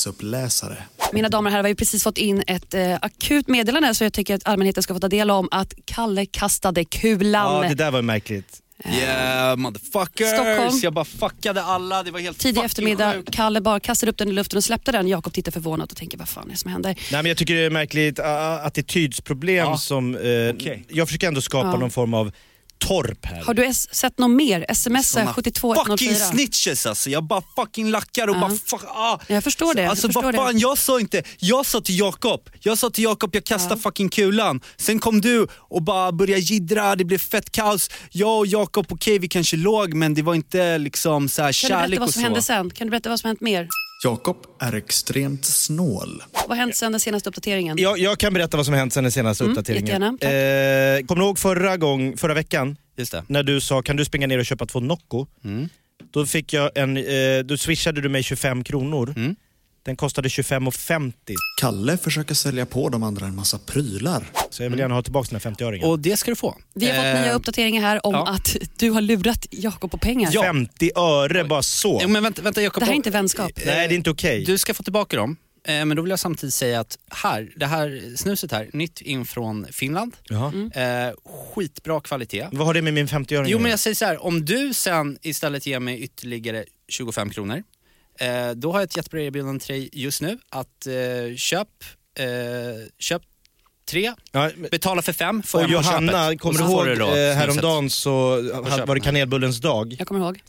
[SPEAKER 1] nyhetsuppläsare.
[SPEAKER 2] Mina damer och herrar, vi har ju precis fått in ett eh, akut meddelande så jag tycker att allmänheten ska få ta del om att Kalle kastade kulan.
[SPEAKER 3] Ja, det där var märkligt.
[SPEAKER 4] Yeah motherfuckers.
[SPEAKER 2] Stockholm.
[SPEAKER 4] Jag bara fuckade alla, det var helt
[SPEAKER 2] Tidig
[SPEAKER 4] fucking
[SPEAKER 2] eftermiddag,
[SPEAKER 4] sjukt.
[SPEAKER 2] Kalle bara kastade upp den i luften och släppte den. Jakob tittar förvånat och tänker vad fan är det som händer?
[SPEAKER 3] Nej men jag tycker det är märkligt a- a- attitydsproblem
[SPEAKER 4] Ja.
[SPEAKER 3] som... Eh,
[SPEAKER 4] Okej.
[SPEAKER 3] Jag försöker ändå skapa
[SPEAKER 2] Ja.
[SPEAKER 3] någon form av torp här.
[SPEAKER 2] Har du s- sett något mer? Smsa
[SPEAKER 4] Såna
[SPEAKER 2] 72104.
[SPEAKER 4] Fucking snitches alltså, jag bara fucking lackar och
[SPEAKER 2] Ja.
[SPEAKER 4] bara fuck, ah.
[SPEAKER 2] Jag förstår det, jag
[SPEAKER 4] Alltså
[SPEAKER 2] förstår
[SPEAKER 4] vad
[SPEAKER 2] det.
[SPEAKER 4] fan, jag sa inte, jag sa till Jakob, jag sa till Jakob jag
[SPEAKER 2] Ja.
[SPEAKER 4] kastar fucking kulan. Sen kom du och bara började jiddra, det blev fett kaos. Jag och Jakob, okej vi kanske låg men det var inte liksom så här
[SPEAKER 2] Kan du berätta
[SPEAKER 4] kärlek
[SPEAKER 2] vad
[SPEAKER 4] och så.
[SPEAKER 2] som hände sen? Kan du berätta vad som hänt mer?
[SPEAKER 1] Jakob är extremt snål.
[SPEAKER 2] Vad har hänt sen den senaste uppdateringen?
[SPEAKER 3] Jag, jag kan berätta vad som hänt sen den senaste uppdateringen.
[SPEAKER 2] Mm, jättegärna. Tack.
[SPEAKER 3] Eh, kommer du ihåg förra, gång, förra veckan
[SPEAKER 4] Just det.
[SPEAKER 3] när du sa kan du springa ner och köpa två Nocco?
[SPEAKER 4] Mm.
[SPEAKER 3] Då, fick jag en, eh, då swishade du mig 25 kronor.
[SPEAKER 4] Mm.
[SPEAKER 3] Den kostade 25,50.
[SPEAKER 1] Kalle försöker sälja på de andra en massa prylar.
[SPEAKER 3] Så jag vill gärna ha tillbaka den här 50-öringen.
[SPEAKER 4] Mm. Och det ska du få.
[SPEAKER 2] Vi har fått
[SPEAKER 4] Eh,
[SPEAKER 2] nya uppdateringar här om
[SPEAKER 4] ja.
[SPEAKER 2] att du har lurat Jakob på pengar.
[SPEAKER 4] Ja.
[SPEAKER 3] 50 öre bara så.
[SPEAKER 4] Jo, Eh, men vänta, vänta Jakob.
[SPEAKER 2] Det här är inte vänskap.
[SPEAKER 3] Nej det är inte okej.
[SPEAKER 4] Du ska få tillbaka dem, eh, men då vill jag samtidigt säga att här, det här snuset här, nytt in från Finland.
[SPEAKER 3] Jaha.
[SPEAKER 4] Eh, skitbra kvalitet.
[SPEAKER 3] Vad har det med min 50-öring
[SPEAKER 4] Jo
[SPEAKER 3] att
[SPEAKER 4] men
[SPEAKER 3] göra?
[SPEAKER 4] jag säger så här, om du sen istället ger mig ytterligare 25 kronor, eh, då har jag ett jättebra erbjudande till dig just nu att eh, köp, eh, köp tre,
[SPEAKER 3] Ja, men-
[SPEAKER 4] betala för fem, får
[SPEAKER 3] och
[SPEAKER 4] jag på
[SPEAKER 3] Johanna,
[SPEAKER 4] köpet.
[SPEAKER 3] kommer
[SPEAKER 4] Och
[SPEAKER 3] du
[SPEAKER 4] så får
[SPEAKER 3] ihåg
[SPEAKER 4] då
[SPEAKER 3] eh,
[SPEAKER 4] snuset.
[SPEAKER 3] häromdagen så hade-
[SPEAKER 4] köpa
[SPEAKER 3] var det
[SPEAKER 4] den här.
[SPEAKER 3] kanelbullens dag.
[SPEAKER 2] Jag kommer ihåg.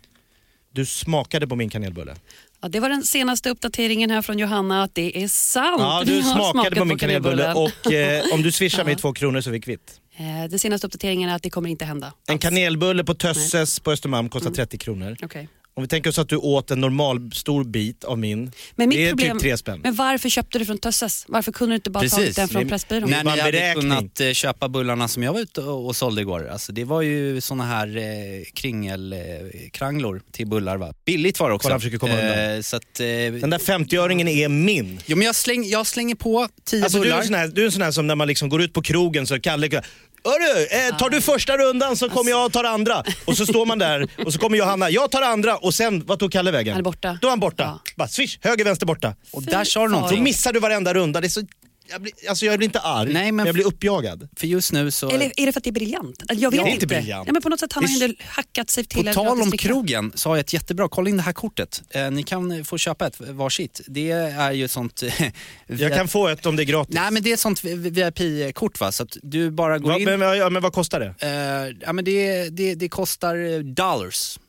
[SPEAKER 3] Du smakade på min kanelbulle.
[SPEAKER 2] Ja, det var den senaste uppdateringen här från Johanna att det är sant.
[SPEAKER 3] Ja,
[SPEAKER 2] Vi
[SPEAKER 4] [LAUGHS]
[SPEAKER 2] [LAUGHS]
[SPEAKER 3] du
[SPEAKER 2] har
[SPEAKER 3] smakade
[SPEAKER 2] smakat
[SPEAKER 3] på min kanelbulle
[SPEAKER 2] kanelbullen.
[SPEAKER 3] och eh, om du swishar mig
[SPEAKER 2] Ja.
[SPEAKER 3] två kronor så är vi kvitt.
[SPEAKER 2] Eh, den senaste uppdateringen är att det kommer inte hända.
[SPEAKER 3] En kanelbulle på Tösses på Östermalm
[SPEAKER 4] Mm.
[SPEAKER 3] kostar 30 kronor.
[SPEAKER 2] Okej.
[SPEAKER 3] Om vi tänker oss att du åt en normal stor bit av min,
[SPEAKER 2] Men mitt
[SPEAKER 3] det är
[SPEAKER 2] problem-
[SPEAKER 3] typ tre spänn.
[SPEAKER 2] Men varför köpte du från Tösses? Varför kunde du inte bara
[SPEAKER 4] Precis.
[SPEAKER 2] tagit den från
[SPEAKER 4] Ni-
[SPEAKER 2] Pressbyrån?
[SPEAKER 4] När
[SPEAKER 3] var en
[SPEAKER 4] ni hade
[SPEAKER 3] beräkning.
[SPEAKER 4] kunnat eh, köpa bullarna som jag var ute och, och sålde igår, alltså, det var ju såna här eh, kringelkranglor eh, kranglor till bullar va. Billigt var det också.
[SPEAKER 3] Kolla, han försöker komma undan.
[SPEAKER 4] Eh, så att, eh,
[SPEAKER 3] Den där 50-öringen är min.
[SPEAKER 4] jo, men jag, släng, jag slänger på 10
[SPEAKER 3] Alltså, du, är
[SPEAKER 4] bullar.
[SPEAKER 3] en sån här, du är en sån här som när man liksom går ut på krogen så Kalle Hörru, eh, tar du första rundan så kommer jag och tar andra. Och så står man där och så kommer Johanna, jag tar andra och sen, vad tog Kalle vägen?
[SPEAKER 2] Han är borta.
[SPEAKER 3] Då är han borta.
[SPEAKER 2] Ja.
[SPEAKER 3] Bara swish, höger, vänster, borta.
[SPEAKER 4] och där sa du
[SPEAKER 3] Då
[SPEAKER 4] någonting.
[SPEAKER 3] missar du varenda runda. Det är så, jag, blir, alltså jag blir inte arg,
[SPEAKER 4] Nej, men-
[SPEAKER 3] men jag blir uppjagad.
[SPEAKER 4] För just nu så...
[SPEAKER 2] Eller är det för att det är briljant? Alltså, Jag vet
[SPEAKER 3] Det är
[SPEAKER 2] inte.
[SPEAKER 3] inte briljant.
[SPEAKER 2] Nej, men på något sätt han har
[SPEAKER 4] Det är
[SPEAKER 2] ju hackat sig till
[SPEAKER 4] På
[SPEAKER 2] en
[SPEAKER 4] tal
[SPEAKER 2] gratis
[SPEAKER 4] om
[SPEAKER 2] dricka.
[SPEAKER 4] krogen så har jag ett jättebra, kolla in det här kortet. Eh, ni kan eh, få köpa ett varsitt. Det är ju ett sånt... [LAUGHS] eh,
[SPEAKER 3] Jag kan få ett om det är gratis.
[SPEAKER 4] Nej men det är ett sånt VIP-kort va, så att du bara går
[SPEAKER 3] Va,
[SPEAKER 4] in...
[SPEAKER 3] men, vad- ja, men vad kostar det?
[SPEAKER 4] Eh, ja, men det, det, det kostar eh, dollars.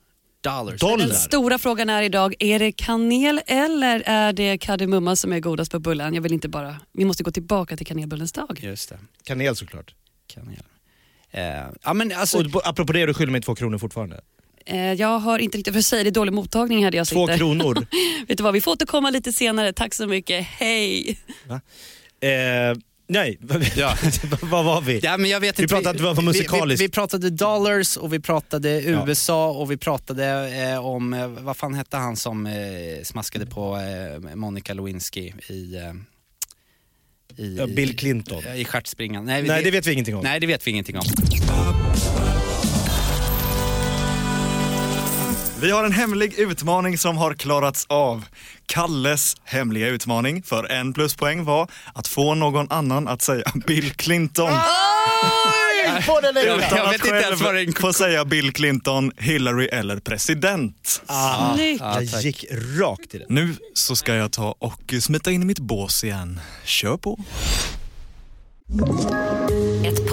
[SPEAKER 4] Dollars.
[SPEAKER 3] Dollar?
[SPEAKER 2] Den stora frågan är idag, är det kanel eller är det kardemumma som är godast på bullen? Jag vill inte bara, vi måste gå tillbaka till kanelbullens dag.
[SPEAKER 4] Just det.
[SPEAKER 3] Kanel såklart.
[SPEAKER 4] Kanel. Eh, ja, men alltså,
[SPEAKER 3] Och b- apropå det, du skyller mig två kronor fortfarande.
[SPEAKER 2] Eh, jag hör inte riktigt vad du säger, det är dålig mottagning här där jag
[SPEAKER 3] Två
[SPEAKER 2] sitter.
[SPEAKER 3] kronor.
[SPEAKER 4] [LAUGHS]
[SPEAKER 2] [LAUGHS] Vet du vad, vi får återkomma lite senare. Tack så mycket, hej!
[SPEAKER 3] Eh, nej, [LAUGHS]
[SPEAKER 4] Ja.
[SPEAKER 3] vad var vi?
[SPEAKER 4] ja, men jag vet
[SPEAKER 3] Vi
[SPEAKER 4] inte,
[SPEAKER 3] pratade- det var
[SPEAKER 4] Vi, vi,
[SPEAKER 3] musikaliskt.
[SPEAKER 4] vi pratade dollars och vi pratade USA och vi pratade eh, om, eh, vad fan hette han som eh, smaskade på eh, Monica Lewinsky i... Eh, i
[SPEAKER 3] Ja, Bill Clinton.
[SPEAKER 4] I, i stjärtspringan. Nej,
[SPEAKER 3] Nej, det vet vi ingenting om.
[SPEAKER 4] Nej, det vet vi ingenting om.
[SPEAKER 1] Vi har en hemlig utmaning som har klarats av. Kalles hemliga utmaning för en pluspoäng var att få någon annan att säga Bill Clinton.
[SPEAKER 4] Jag,
[SPEAKER 1] Utan
[SPEAKER 4] Ah! jag
[SPEAKER 1] att
[SPEAKER 4] vet inte ens vad det
[SPEAKER 1] själv få säga Bill Clinton, Hillary eller president.
[SPEAKER 3] Ah,
[SPEAKER 2] Snyggt.
[SPEAKER 4] Ja,
[SPEAKER 3] Jag
[SPEAKER 4] tack.
[SPEAKER 3] gick rakt i det.
[SPEAKER 1] Nu så ska jag ta och smita in i mitt bås igen. Kör på.
[SPEAKER 5] Ett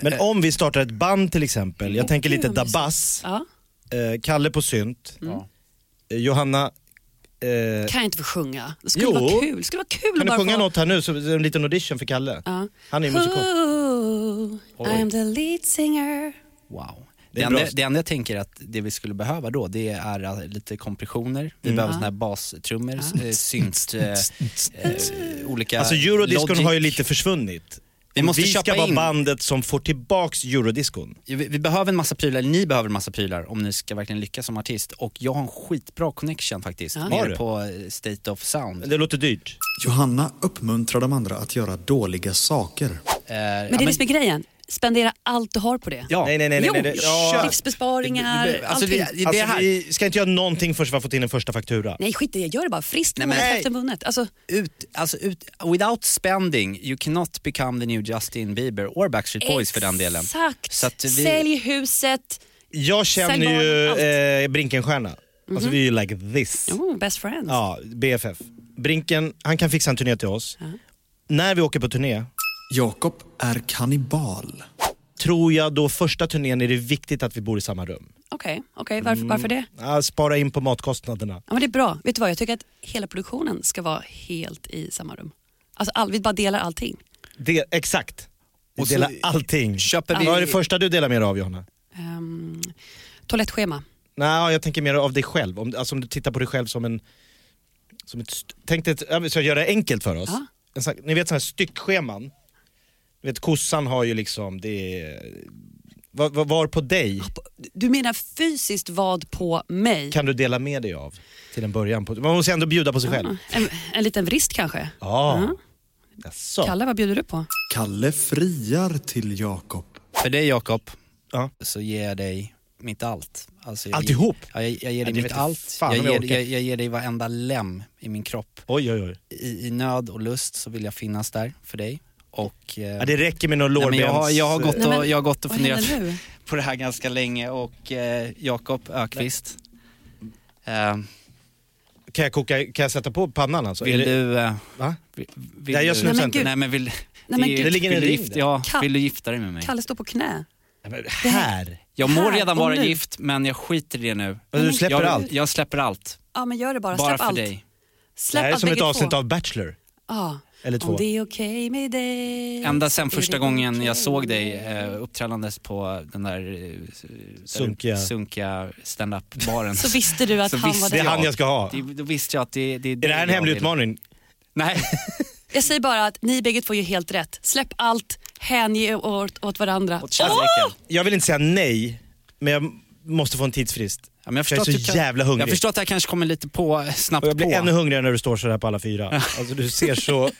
[SPEAKER 3] Men om vi startar ett band till exempel, jag tänker lite Dabas,
[SPEAKER 2] Eh. Ja. Mm.
[SPEAKER 3] eh, Kalle på synt, eh, Johanna, eh,
[SPEAKER 2] Kan jag inte få sjunga? Det skulle
[SPEAKER 3] Jo.
[SPEAKER 2] vara kul. Det skulle vara kul
[SPEAKER 3] kan du
[SPEAKER 2] bara
[SPEAKER 3] sjunga
[SPEAKER 2] få...
[SPEAKER 3] något här nu? Så, en liten audition för Kalle.
[SPEAKER 2] Ja.
[SPEAKER 3] Han är ju musikal.
[SPEAKER 2] Ooh, I'm the lead singer.
[SPEAKER 4] Wow.
[SPEAKER 3] är
[SPEAKER 4] Det
[SPEAKER 3] bra.
[SPEAKER 4] enda, det enda jag tänker att det vi skulle behöva då, det är eh, lite kompressioner.
[SPEAKER 3] Mm.
[SPEAKER 4] Vi behöver såna här bastrummor, ja.
[SPEAKER 3] [LAUGHS]
[SPEAKER 4] synt, eh, eh, olika...
[SPEAKER 3] Alltså eurodiscon
[SPEAKER 4] Logic.
[SPEAKER 3] har ju lite försvunnit.
[SPEAKER 4] Vi måste
[SPEAKER 3] vi ska
[SPEAKER 4] köpa
[SPEAKER 3] vara
[SPEAKER 4] in.
[SPEAKER 3] bandet som får tillbaks eurodiscon.
[SPEAKER 4] Vi, vi behöver en massa prylar, eller ni behöver en massa prylar om ni ska verkligen lyckas som artist. Och jag har en skitbra connection faktiskt,
[SPEAKER 3] Har
[SPEAKER 4] nere
[SPEAKER 3] du?
[SPEAKER 4] på eh, State of Sound.
[SPEAKER 3] Men Det låter dyrt.
[SPEAKER 1] Johanna uppmuntrar de andra att göra dåliga saker.
[SPEAKER 2] Men det är det som är grejen. Spendera allt du har på det.
[SPEAKER 4] Eh, Ja.
[SPEAKER 3] Nej, nej, nej. nej,
[SPEAKER 2] Jo,
[SPEAKER 3] nej, nej.
[SPEAKER 2] kör.
[SPEAKER 3] Ja.
[SPEAKER 2] livsbesparingar,
[SPEAKER 4] Det- det- alltså,
[SPEAKER 2] allting.
[SPEAKER 4] det-
[SPEAKER 3] Alltså,
[SPEAKER 4] här-
[SPEAKER 3] vi ska inte göra någonting först vi har fått in en första faktura.
[SPEAKER 2] Nej skit i det, gör det bara. Friskt
[SPEAKER 4] Nej,
[SPEAKER 2] nej,
[SPEAKER 4] men-
[SPEAKER 2] men... hälften vunnet. Alltså,
[SPEAKER 4] Ut, alltså ut, without spending, you cannot become the new Justin Bieber or Backstreet Boys för den delen.
[SPEAKER 2] Exakt.
[SPEAKER 4] Så att vi-
[SPEAKER 2] Sälj huset.
[SPEAKER 3] Jag
[SPEAKER 2] Sälj Mhm.
[SPEAKER 3] känner
[SPEAKER 2] barnen,
[SPEAKER 3] ju eh, Brinkenstierna. Alltså vi är ju like this.
[SPEAKER 2] Oh, best friends.
[SPEAKER 3] Ja, BFF. Brinken, han kan fixa en turné till oss. När vi åker på turné,
[SPEAKER 1] Jakob är kannibal.
[SPEAKER 3] tror jag då första turnén är det viktigt att vi bor i samma rum.
[SPEAKER 2] Okej, okej. varför, varför det?
[SPEAKER 3] Ah, spara in på matkostnaderna.
[SPEAKER 2] Ja, men det är bra. Vet du vad, jag tycker att hela produktionen ska vara helt i samma rum. Alltså, all, vi bara delar allting.
[SPEAKER 3] Det, exakt. Vi
[SPEAKER 4] Och så-
[SPEAKER 3] delar allting.
[SPEAKER 4] Köper vi-
[SPEAKER 3] Vad är det första du delar med dig av Johanna?
[SPEAKER 2] Ehm, toalettschema.
[SPEAKER 3] Nej, jag tänker mer av dig själv. Om, alltså om du tittar på dig själv som en... Som ett, st- tänk dig, ett, jag ska göra det enkelt för oss.
[SPEAKER 2] Ja.
[SPEAKER 3] En sån, ni vet sådana här styckscheman? Ni vet kossan har ju liksom, det är... Var, var, var på dig
[SPEAKER 2] Du menar fysiskt vad på mig?
[SPEAKER 3] kan du dela med dig av till en början? På, man måste ändå bjuda på sig själv.
[SPEAKER 2] En, en liten vrist kanske?
[SPEAKER 3] Ja.
[SPEAKER 2] Mm.
[SPEAKER 3] Jaså.
[SPEAKER 2] Kalle, vad bjuder du på?
[SPEAKER 1] Kalle friar till Jakob.
[SPEAKER 4] För dig Jakob,
[SPEAKER 3] Ja.
[SPEAKER 4] så ger jag dig mitt allt. Alltså, jag
[SPEAKER 3] Alltihop?
[SPEAKER 4] Ger, ja, jag, jag ger
[SPEAKER 3] Ja,
[SPEAKER 4] dig
[SPEAKER 3] det
[SPEAKER 4] mitt
[SPEAKER 3] vet jag
[SPEAKER 4] allt.
[SPEAKER 3] fan
[SPEAKER 4] Jag
[SPEAKER 3] om jag
[SPEAKER 4] ger,
[SPEAKER 3] orkar.
[SPEAKER 4] jag, jag ger dig varenda lem i min kropp.
[SPEAKER 3] Oj, oj, oj.
[SPEAKER 4] I, I nöd och lust så vill jag finnas där för dig. Och, eh,
[SPEAKER 3] Ja, det räcker med någon
[SPEAKER 4] nej, men
[SPEAKER 3] lårbens...
[SPEAKER 4] jag, har, jag, har gått
[SPEAKER 2] Nej, men-
[SPEAKER 4] och, jag har gått och
[SPEAKER 2] vad
[SPEAKER 4] funderat
[SPEAKER 2] händer nu?
[SPEAKER 4] på det här ganska länge och eh, Jakob Ökvist eh,
[SPEAKER 3] Kan, jag koka, kan jag sätta på pannan alltså?
[SPEAKER 4] vill
[SPEAKER 3] Är det,
[SPEAKER 4] du... Eh,
[SPEAKER 3] Va?
[SPEAKER 4] vill, vill
[SPEAKER 3] Nej, jag
[SPEAKER 4] du-
[SPEAKER 3] snusar
[SPEAKER 2] Nej, men inte. gud.
[SPEAKER 4] Nej men vill...
[SPEAKER 2] men
[SPEAKER 4] är-
[SPEAKER 2] gud.
[SPEAKER 3] Det ligger en
[SPEAKER 4] vill du
[SPEAKER 3] ring
[SPEAKER 4] gift,
[SPEAKER 3] där.
[SPEAKER 4] ja,
[SPEAKER 2] Kall-
[SPEAKER 4] vill du gifta dig med mig?
[SPEAKER 2] Kalle står på knä.
[SPEAKER 3] Här!
[SPEAKER 4] Jag må
[SPEAKER 2] Här
[SPEAKER 4] redan
[SPEAKER 2] och
[SPEAKER 4] vara
[SPEAKER 2] nu.
[SPEAKER 4] gift men jag skiter i det nu.
[SPEAKER 3] Men du släpper
[SPEAKER 4] jag,
[SPEAKER 3] allt.
[SPEAKER 4] Jag släpper allt.
[SPEAKER 2] Ja, men gör det bara.
[SPEAKER 4] Bara
[SPEAKER 2] Släpp
[SPEAKER 4] för
[SPEAKER 2] allt.
[SPEAKER 4] dig.
[SPEAKER 3] Det
[SPEAKER 2] Släpp
[SPEAKER 3] här är
[SPEAKER 2] allt
[SPEAKER 3] som ett
[SPEAKER 2] bägge
[SPEAKER 3] avsnitt
[SPEAKER 2] två.
[SPEAKER 3] av Bachelor.
[SPEAKER 2] Ja.
[SPEAKER 3] Eller
[SPEAKER 2] Om
[SPEAKER 3] två.
[SPEAKER 2] det är okej med dig.
[SPEAKER 4] Ända sen första
[SPEAKER 2] Är det
[SPEAKER 4] gången
[SPEAKER 2] okej
[SPEAKER 4] jag såg dig
[SPEAKER 2] med
[SPEAKER 4] eh, uppträdandes på den där eh, s-
[SPEAKER 3] Sunkiga.
[SPEAKER 4] sunkiga stand-up-baren.
[SPEAKER 2] Så visste du att
[SPEAKER 4] [LAUGHS] Så
[SPEAKER 2] han
[SPEAKER 4] visste
[SPEAKER 2] var
[SPEAKER 3] Det är
[SPEAKER 2] där.
[SPEAKER 4] jag.
[SPEAKER 3] han jag ska ha.
[SPEAKER 4] Det- Då visste jag att det, det
[SPEAKER 3] Är det här en
[SPEAKER 4] jag
[SPEAKER 3] hemlig
[SPEAKER 4] vill.
[SPEAKER 3] utmaning?
[SPEAKER 4] Nej.
[SPEAKER 2] Jag säger bara att ni bägge två gör helt rätt. Släpp allt, hänge er åt, åt varandra.
[SPEAKER 4] Åt kärleken.
[SPEAKER 3] Jag vill inte säga nej, men jag måste få en tidsfrist.
[SPEAKER 4] Ja, men jag,
[SPEAKER 3] Jag är
[SPEAKER 4] förstår
[SPEAKER 3] så
[SPEAKER 4] att du kan-
[SPEAKER 3] jävla hungrig.
[SPEAKER 4] Jag förstår att det här kanske kommer lite på, snabbt
[SPEAKER 3] Och jag blir
[SPEAKER 4] på.
[SPEAKER 3] ännu hungrigare när du står så här på alla fyra. Alltså du ser
[SPEAKER 4] [LAUGHS]
[SPEAKER 3] så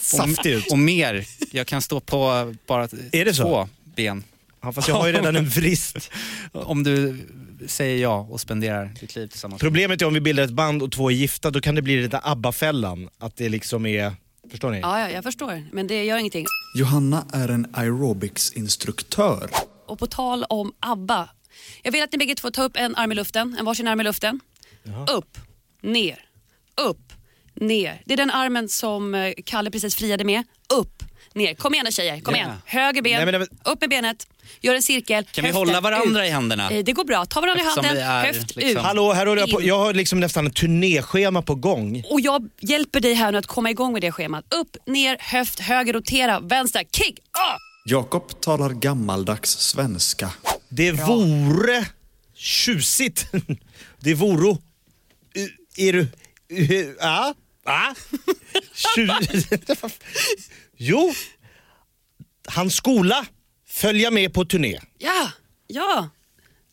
[SPEAKER 3] saftig ut.
[SPEAKER 4] Och mer. Jag kan stå på bara
[SPEAKER 3] Är det så?
[SPEAKER 4] två ben.
[SPEAKER 3] Ja, fast jag har ju redan en vrist.
[SPEAKER 4] Om du säger ja och spenderar ditt liv tillsammans.
[SPEAKER 3] Problemet är om vi bildar ett band och två är gifta, då kan det bli den där ABBA-fällan. Att det liksom är... Förstår ni?
[SPEAKER 2] Ja, ja, jag förstår. Men det gör ingenting.
[SPEAKER 1] Johanna är en aerobicsinstruktör.
[SPEAKER 2] Och på tal om ABBA. Jag vill att ni bägge två tar upp en arm i luften, en varsin arm i luften. Upp, ner, upp, ner. Det är den armen som eh, Kalle precis friade med. Upp, ner. Kom igen då tjejer, kom
[SPEAKER 4] Ja.
[SPEAKER 2] igen. Höger ben,
[SPEAKER 3] Nej, men det
[SPEAKER 2] upp med benet, gör en cirkel.
[SPEAKER 4] Kan vi hålla varandra i händerna?
[SPEAKER 2] Eh, Det går bra, ta varandra i
[SPEAKER 4] Eftersom
[SPEAKER 2] handen,
[SPEAKER 4] vi är,
[SPEAKER 2] höft
[SPEAKER 4] liksom-
[SPEAKER 2] ut.
[SPEAKER 3] Hallå, här håller jag på.
[SPEAKER 2] In.
[SPEAKER 3] Jag har liksom nästan ett turnéschema på gång.
[SPEAKER 2] Och jag hjälper dig här nu att komma igång med det schemat. Upp, ner, höft, höger, rotera, vänster, kick, ah!
[SPEAKER 1] Jakob talar gammaldags svenska.
[SPEAKER 3] Det vore tjusigt. [LAUGHS] Det vore... eh, Är du... Ja? Ja? Tju- [LAUGHS] Jo. Han skola följa med på turné.
[SPEAKER 2] Ja, ja.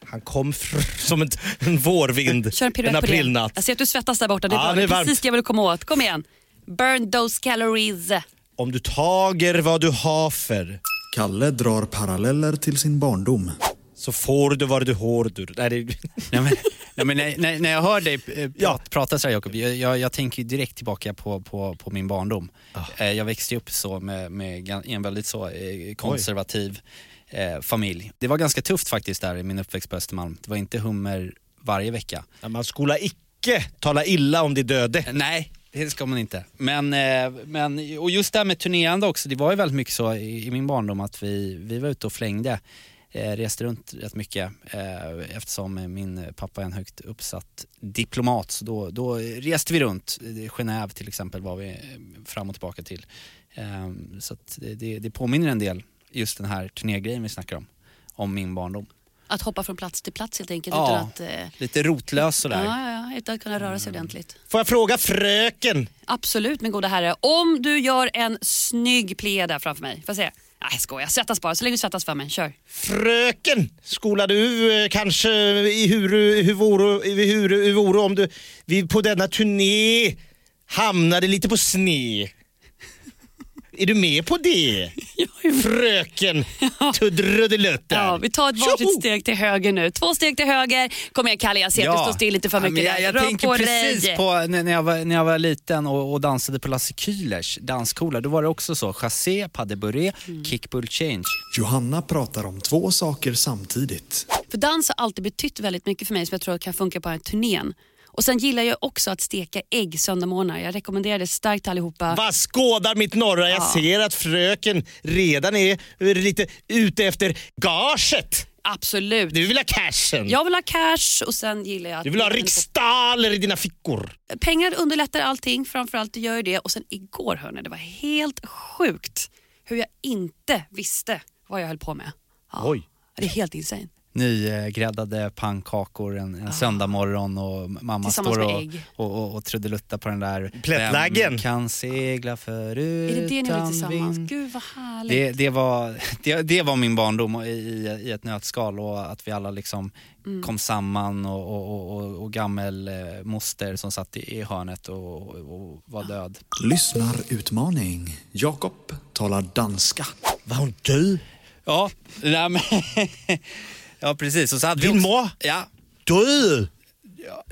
[SPEAKER 3] Han kom fr- som ett, en vårvind
[SPEAKER 2] Kör en piruett på
[SPEAKER 3] en
[SPEAKER 2] det.
[SPEAKER 3] aprilnatt.
[SPEAKER 2] Jag ser att du svettas där borta. Det är,
[SPEAKER 3] Ja,
[SPEAKER 2] bra.
[SPEAKER 3] det är
[SPEAKER 2] Det är
[SPEAKER 3] varmt.
[SPEAKER 2] precis det jag vill komma åt. Kom igen. Burn those calories.
[SPEAKER 3] Om du tager vad du hafer
[SPEAKER 1] Kalle drar paralleller till sin barndom.
[SPEAKER 3] Så får du vad du hår du. Nej, det... [LAUGHS]
[SPEAKER 4] [LAUGHS] Nej, men, nej, men när- när, när jag hör dig eh,
[SPEAKER 3] Ja.
[SPEAKER 4] prat, prata så här Jakob, jag, jag, jag tänker ju direkt tillbaka på, på, på min barndom. Eh, Jag växte upp så med, med gan- i en väldigt så eh, konservativ eh, familj. Det var ganska tufft faktiskt där i min uppväxt på Östermalm. Det var inte hummer varje vecka.
[SPEAKER 3] Nej, Man skola icke tala illa om de döde.
[SPEAKER 4] Eh, Nej, det ska man inte. Men, eh, men, och just det här med turnerande också, det var ju väldigt mycket så i, i min barndom att vi, vi var ute och flängde. Eh, reste runt rätt mycket eh, eftersom eh, min pappa är en högt uppsatt diplomat. Så då, då reste vi runt. Eh, Genève till exempel var vi eh, fram och tillbaka till. Eh, så att det, det, det påminner en del, just den här turnégrejen vi snackar om, om min barndom.
[SPEAKER 2] Att hoppa från plats till plats helt enkelt.
[SPEAKER 4] Ja.
[SPEAKER 2] Utan att, eh,
[SPEAKER 4] Lite rotlös sådär.
[SPEAKER 2] ja, ja, ja, utan att kunna röra sig ordentligt.
[SPEAKER 3] Får jag fråga fröken?
[SPEAKER 2] Absolut min goda herre. Om du gör en snygg plié där framför mig. Får jag se? Nej jag skojar, svettas bara. Så länge du svettas för mig.
[SPEAKER 4] [LAUGHS]
[SPEAKER 2] Kör.
[SPEAKER 3] Fröken, skola du eh, kanske i huru, hur vore, i huru, hur vore om du vi på denna turné hamnade lite på sne? Är du med på det?
[SPEAKER 2] [LAUGHS]
[SPEAKER 3] Fröken Tuddelutten.
[SPEAKER 2] Ja, vi tar ett varsitt
[SPEAKER 3] Tjoho!
[SPEAKER 2] steg till höger nu. Två steg till höger. Kom igen Kalle, jag ser att du står still lite för
[SPEAKER 4] Ja,
[SPEAKER 2] mycket.
[SPEAKER 4] men
[SPEAKER 2] där.
[SPEAKER 4] jag jag
[SPEAKER 2] Rör
[SPEAKER 4] tänker
[SPEAKER 2] på
[SPEAKER 4] precis
[SPEAKER 2] dig.
[SPEAKER 4] på när när jag var, när jag var liten och, och dansade på Lasse Kühlers dansskola. Då var det också så, chassé, pas de bourré,
[SPEAKER 2] Mm.
[SPEAKER 4] kick bull change.
[SPEAKER 1] Johanna pratar om två saker samtidigt.
[SPEAKER 2] För dans har alltid betytt väldigt mycket för mig som jag tror kan funka på den här turnén. Och sen gillar jag också att steka ägg söndagmorgnar. Jag rekommenderar det starkt till allihopa.
[SPEAKER 3] Vad skådar mitt norra? Jag ser att fröken redan är eh, lite ute efter gaget.
[SPEAKER 2] Absolut.
[SPEAKER 3] Du vill ha cashen.
[SPEAKER 2] Jag vill ha cash och sen gillar jag att...
[SPEAKER 3] Du vill ha riksdaler i dina fickor.
[SPEAKER 2] Pengar underlättar allting, framförallt det gör ju det. Och sen igår hörni, det var helt sjukt hur jag inte visste vad jag höll på med. Ja.
[SPEAKER 3] Oj.
[SPEAKER 2] Det är helt insane.
[SPEAKER 4] Nygräddade pannkakor en, en söndagmorgon och mamma
[SPEAKER 2] Ah. Tillsammans
[SPEAKER 4] står
[SPEAKER 2] med
[SPEAKER 4] och,
[SPEAKER 2] ägg.
[SPEAKER 4] och, och, och trudeluttar på den där.
[SPEAKER 3] Plättlaggen.
[SPEAKER 4] Vem kan segla förut
[SPEAKER 2] Är det det ni gjorde tillsammans?
[SPEAKER 4] vind?
[SPEAKER 2] Gud vad härligt.
[SPEAKER 4] Det, det, var, [LAUGHS] det, det var min barndom och i, i- i ett nötskal och att vi alla liksom kom samman och, och, och- och, och gammelmoster som satt i, i hörnet och, och, och var död.
[SPEAKER 1] Lyssnarutmaning. Jakob talar danska.
[SPEAKER 3] Var hon död?
[SPEAKER 4] Ja, nej, men, [LAUGHS] ja precis. Och så hade vi
[SPEAKER 3] Din
[SPEAKER 4] också-
[SPEAKER 3] ma?
[SPEAKER 4] Ja,
[SPEAKER 3] Död?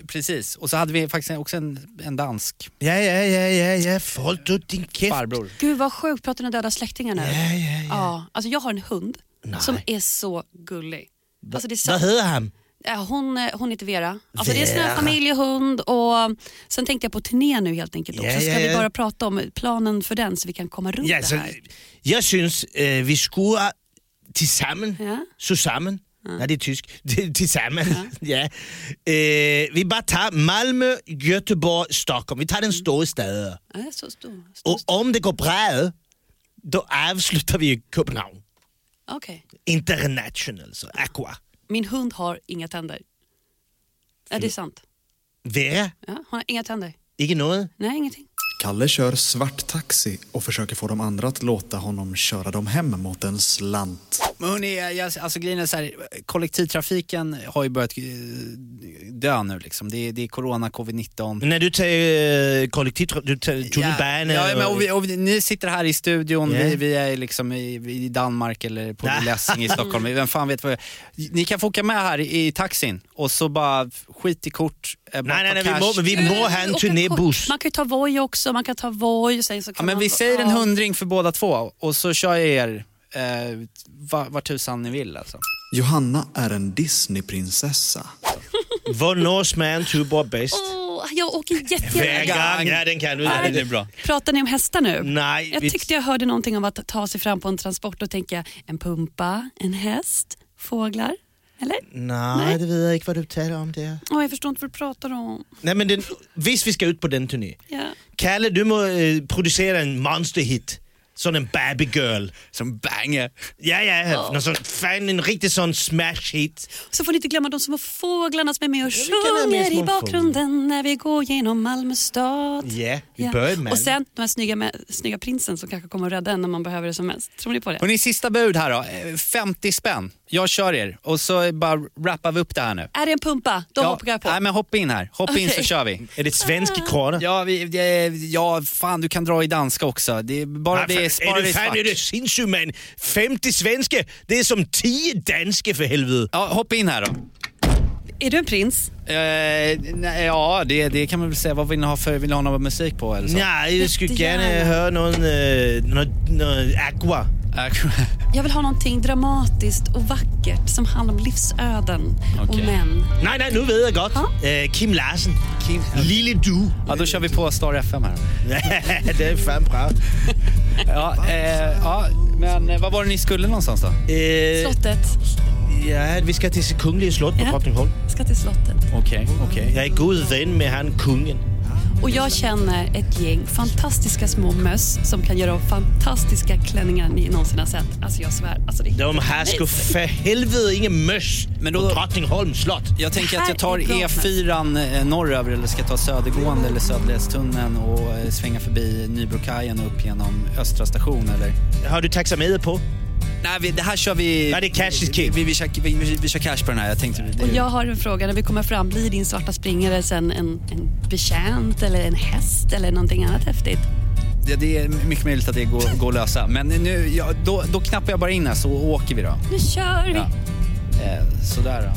[SPEAKER 4] precis. Och så hade vi faktiskt också en, en dansk
[SPEAKER 3] Ja, ja, ja, ja, ja. Håll du din käft.
[SPEAKER 4] farbror.
[SPEAKER 2] Gud vad sjukt, pratar ni döda släktingar nu? Ja, ja, ja. alltså jag har en hund som är så gullig. Alltså det är så,
[SPEAKER 3] Vad hör han?
[SPEAKER 2] Eh, hon, eh, hon heter Vera. Alltså Det är en sån här familjehund och sen tänkte jag på turné nu helt enkelt också.
[SPEAKER 3] Ja, ja,
[SPEAKER 2] Ska vi
[SPEAKER 3] ja.
[SPEAKER 2] bara prata om planen för den så vi kan komma runt
[SPEAKER 3] Ja, så,
[SPEAKER 2] det här?
[SPEAKER 3] jag syns eh, vi skulle tillsammans,
[SPEAKER 2] Ja.
[SPEAKER 3] tillsammans, nej det är tysk, [LAUGHS] tillsammans. [LAUGHS] Ja. Eh, vi bara tar Malmö, Göteborg, Stockholm. Vi tar
[SPEAKER 2] Mm.
[SPEAKER 3] den stora staden.
[SPEAKER 2] Ja, så stor. stor.
[SPEAKER 3] Och om det går bra, då avslutar vi i Köpenhamn.
[SPEAKER 2] Okej.
[SPEAKER 3] International, så aqua.
[SPEAKER 2] Min hund har inga tänder. Ja, det är sant.
[SPEAKER 3] Vera,
[SPEAKER 2] Ja, hon har inga tänder.
[SPEAKER 3] inte något?
[SPEAKER 2] Nej, ingenting.
[SPEAKER 1] Kalle kör svart taxi och försöker få de andra att låta honom köra dem hem mot en slant.
[SPEAKER 4] Men hörni, jag, alltså grejen är så här, kollektivtrafiken har ju börjat eh, dö nu liksom. Det är, det är corona, covid-19.
[SPEAKER 3] När du tar eh, kollektivtrafik, du tar tunnelbanan.
[SPEAKER 4] Ja, men,
[SPEAKER 3] och-
[SPEAKER 4] och vi, och vi, ni sitter här i studion,
[SPEAKER 3] Ja.
[SPEAKER 4] vi, vi är liksom i, vi- i Danmark eller på
[SPEAKER 3] Nej.
[SPEAKER 4] Lessing i Stockholm. Vem fan vet vad Ni kan få åka med här i, i taxin och så bara skit i kort, eh, bara
[SPEAKER 3] Nej, nej,
[SPEAKER 4] ta
[SPEAKER 3] nej,
[SPEAKER 4] cash.
[SPEAKER 3] vi må, vi må
[SPEAKER 4] [LAUGHS]
[SPEAKER 3] ha
[SPEAKER 2] Eh,
[SPEAKER 3] en
[SPEAKER 2] Och en
[SPEAKER 3] turnébuss.
[SPEAKER 2] kort- Man kan ju ta Voi också, man kan ta Voi. Sen så
[SPEAKER 4] ja,
[SPEAKER 2] kan
[SPEAKER 4] men
[SPEAKER 2] man,
[SPEAKER 4] vi säger en
[SPEAKER 2] Ja.
[SPEAKER 4] hundring för båda två och så kör jag er eh, va- vart tusan ni vill alltså.
[SPEAKER 1] Johanna är en Disneyprinsessa.
[SPEAKER 3] Vad nås man tubar bäst?
[SPEAKER 2] Åh, jag åker jätte, jätte...
[SPEAKER 3] Vägar, ja den kan du. Ja, den är bra.
[SPEAKER 2] Pratar ni om hästar nu?
[SPEAKER 3] Nej,
[SPEAKER 2] Jag
[SPEAKER 3] vi-
[SPEAKER 2] tyckte jag hörde någonting om att ta sig fram på en transport och tänka en pumpa, en häst, fåglar. Eller?
[SPEAKER 3] Mm. Nej, det vet jag inte vad du talar om där.
[SPEAKER 2] Åh, jag förstår inte vad du pratar om.
[SPEAKER 3] Nej, men den, visst vi ska ut på den turné.
[SPEAKER 2] Ja.
[SPEAKER 3] Kalle, du må eh, producera en monsterhit. Sån en baby girl.
[SPEAKER 4] Som banger.
[SPEAKER 3] Ja, ja. Någon sån, fan, en riktig sån smash hit.
[SPEAKER 2] Så får ni inte glömma de små fåglarna som är med och
[SPEAKER 3] vilka är med
[SPEAKER 2] sjunger
[SPEAKER 3] små
[SPEAKER 2] i bakgrunden när vi går genom Malmö stad.
[SPEAKER 3] Ja, vi
[SPEAKER 2] Ja.
[SPEAKER 3] börjar med
[SPEAKER 2] Och sen den här snygga, mä- snygga prinsen som kanske kommer och rädda en när man behöver det som mest. Tror ni på det?
[SPEAKER 4] Hörrni, sista bud här då. Eh, 50 spänn. Jag kör er och så bara wrappar vi upp det här nu.
[SPEAKER 2] Är det en pumpa? Då
[SPEAKER 4] Ja,
[SPEAKER 2] hoppar jag på.
[SPEAKER 4] Nej men hoppa in här, hoppa in så
[SPEAKER 2] Okej.
[SPEAKER 4] kör vi.
[SPEAKER 3] Är det svensk krana?
[SPEAKER 4] Ja, vi, det, ja, fan du kan dra i danska också. Det, är bara
[SPEAKER 3] Nej,
[SPEAKER 4] det
[SPEAKER 6] det, spara
[SPEAKER 3] är
[SPEAKER 6] det
[SPEAKER 3] du
[SPEAKER 6] i svart.
[SPEAKER 3] fan är du sindssyg man? 50 svenska, det är som 10 danska för helvete.
[SPEAKER 6] Ja, hoppa in här då.
[SPEAKER 2] Är du en prins?
[SPEAKER 6] Eh, nej, ja, det, det kan man väl säga. Vad vill ni ha för, vill ni ha någon musik på eller så?
[SPEAKER 3] Nej, jag skulle
[SPEAKER 2] Jättegärna.
[SPEAKER 3] gärna höra någon, eh, någon, någon aqua.
[SPEAKER 6] Eh,
[SPEAKER 2] Jag vill ha någonting dramatiskt och vackert som handlar om livsöden och
[SPEAKER 6] Okej.
[SPEAKER 2] män.
[SPEAKER 3] Nej, nej, nu vet jag gott.
[SPEAKER 2] Ja.
[SPEAKER 3] Eh, Kim Larsen.
[SPEAKER 6] Kim-
[SPEAKER 3] Lille du. [LAUGHS]
[SPEAKER 6] Ja, då kör vi på Star FM här.
[SPEAKER 3] det är fan bra.
[SPEAKER 6] Ja, eh, ja, men eh, vad var det ni skulle någonstans då?
[SPEAKER 3] Eh,
[SPEAKER 2] Slottet.
[SPEAKER 3] ja, vi ska till Kungliga slott på
[SPEAKER 2] Ja.
[SPEAKER 3] Drottningholm.
[SPEAKER 2] Ska till slottet.
[SPEAKER 6] Okej, okej.
[SPEAKER 3] Jag är god vän med han kungen.
[SPEAKER 2] Och jag känner ett gäng fantastiska små möss som kan göra de fantastiska klänningar ni någonsin har sett. Alltså jag svär. Alltså det är
[SPEAKER 3] De här ska för helvete ingen möss
[SPEAKER 6] Men
[SPEAKER 3] på
[SPEAKER 6] då-
[SPEAKER 3] Drottningholms slott.
[SPEAKER 6] Jag tänker att jag tar
[SPEAKER 2] Här är bra.
[SPEAKER 6] E4 norröver eller ska jag ta södergående eller Söderledstunneln och eh, svänga förbi Nybrokajen och upp genom Östra station eller?
[SPEAKER 3] Har du taxameter på?
[SPEAKER 6] Nej, vi, det här kör vi...
[SPEAKER 3] Nej, det är cash is king.
[SPEAKER 6] Vi, vi, kör, vi, vi, vi kör cash på den här. Jag tänkte... Det,
[SPEAKER 2] Och jag har en fråga när vi kommer fram. Blir din svarta springare sen en, en betjänt eller en häst eller någonting annat häftigt?
[SPEAKER 6] det, det är mycket möjligt att det går, går att lösa. Men nu, ja, då, då knappar jag bara in här så åker vi då.
[SPEAKER 2] Nu kör vi!
[SPEAKER 6] Ja. Eh, sådär då.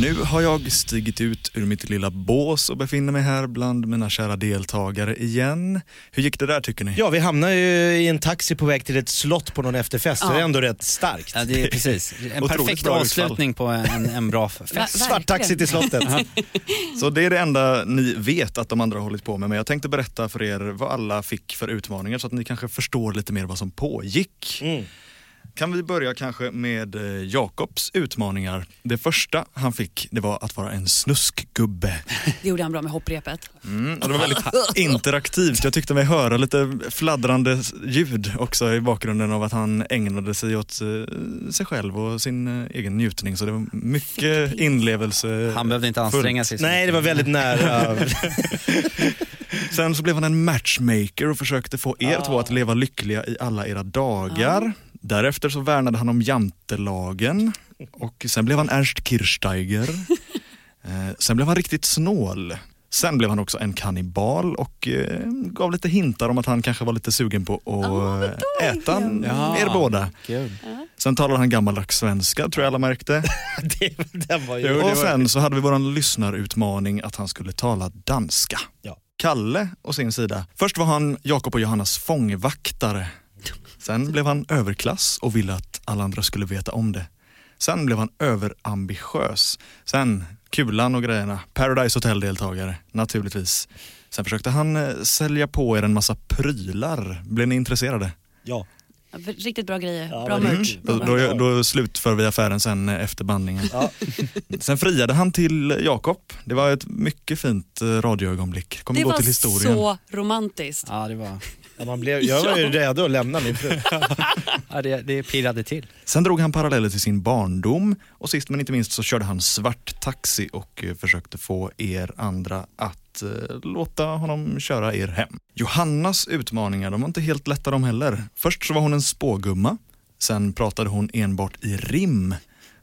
[SPEAKER 1] Nu har jag stigit ut ur mitt lilla bås och befinner mig här bland mina kära deltagare igen. Hur gick det där tycker ni?
[SPEAKER 3] Ja, vi hamnar ju i en taxi på väg till ett slott på någon efterfest. Det är ändå rätt starkt.
[SPEAKER 6] Ja, det är precis. En
[SPEAKER 1] Otroligt
[SPEAKER 6] perfekt
[SPEAKER 1] bra
[SPEAKER 6] avslutning på en, en bra fest.
[SPEAKER 2] verkligen.
[SPEAKER 3] Svart taxi till slottet.
[SPEAKER 1] Så det är det enda ni vet att de andra har hållit på med. Men jag tänkte berätta för er vad alla fick för utmaningar så att ni kanske förstår lite mer vad som pågick. Kan vi börja kanske med eh, Jakobs utmaningar. Det första han fick det var att vara en snuskgubbe.
[SPEAKER 2] Det gjorde han bra med hopprepet.
[SPEAKER 1] Mm, och det var väldigt interaktivt. Jag tyckte mig höra lite fladdrande ljud också i bakgrunden av att han ägnade sig åt eh, sig själv och sin eh, egen njutning. Så det var mycket inlevelse.
[SPEAKER 6] Han behövde inte anstränga sig. så
[SPEAKER 3] Nej, det var väldigt nära. [LAUGHS]
[SPEAKER 1] Sen så blev han en matchmaker och försökte få er två att leva lyckliga i alla era dagar. Därefter så värnade han om jantelagen och sen blev han Ernst Kirchsteiger. Eh, sen blev han riktigt snål. Sen blev han också en kannibal och eh, gav lite hintar om att han kanske var lite sugen på att eh, äta
[SPEAKER 6] Ja.
[SPEAKER 1] er båda.
[SPEAKER 6] mycket.
[SPEAKER 1] Sen talade han gammaldags svenska, tror jag alla märkte.
[SPEAKER 3] det, den var ju...
[SPEAKER 1] och sen så hade vi vår lyssnarutmaning att han skulle tala danska.
[SPEAKER 3] Ja.
[SPEAKER 1] Kalle å sin sida. Först var han Jakob och Johannas fångvaktare. Sen blev han överklass och ville att alla andra skulle veta om det. Sen blev han överambitiös. Sen Kulan och grejerna. Paradise Hotel-deltagare, naturligtvis. Sen försökte han eh, sälja på er en massa prylar. Blev ni intresserade?
[SPEAKER 3] Ja.
[SPEAKER 2] Ja, för- Riktigt bra grejer.
[SPEAKER 3] Ja,
[SPEAKER 2] bra
[SPEAKER 3] det är
[SPEAKER 2] merch.
[SPEAKER 1] Mm. Då, då, då slutför vi affären sen eh, efter bandningen. Sen friade han till Jakob. Det var ett mycket fint eh, radioögonblick. Kommer
[SPEAKER 2] Det
[SPEAKER 1] gå
[SPEAKER 2] var
[SPEAKER 1] till historien.
[SPEAKER 2] så romantiskt.
[SPEAKER 6] Ja, det var...
[SPEAKER 3] Ja, man blev, jag var ju redo att lämna min fru.
[SPEAKER 6] Ja, det, det pirrade till.
[SPEAKER 1] Sen drog han paralleller till sin barndom och sist men inte minst så körde han svart taxi och eh, försökte få er andra att eh, låta honom köra er hem. Johannas utmaningar, de var inte helt lätta de heller. Först så var hon en spågumma, sen pratade hon enbart i rim.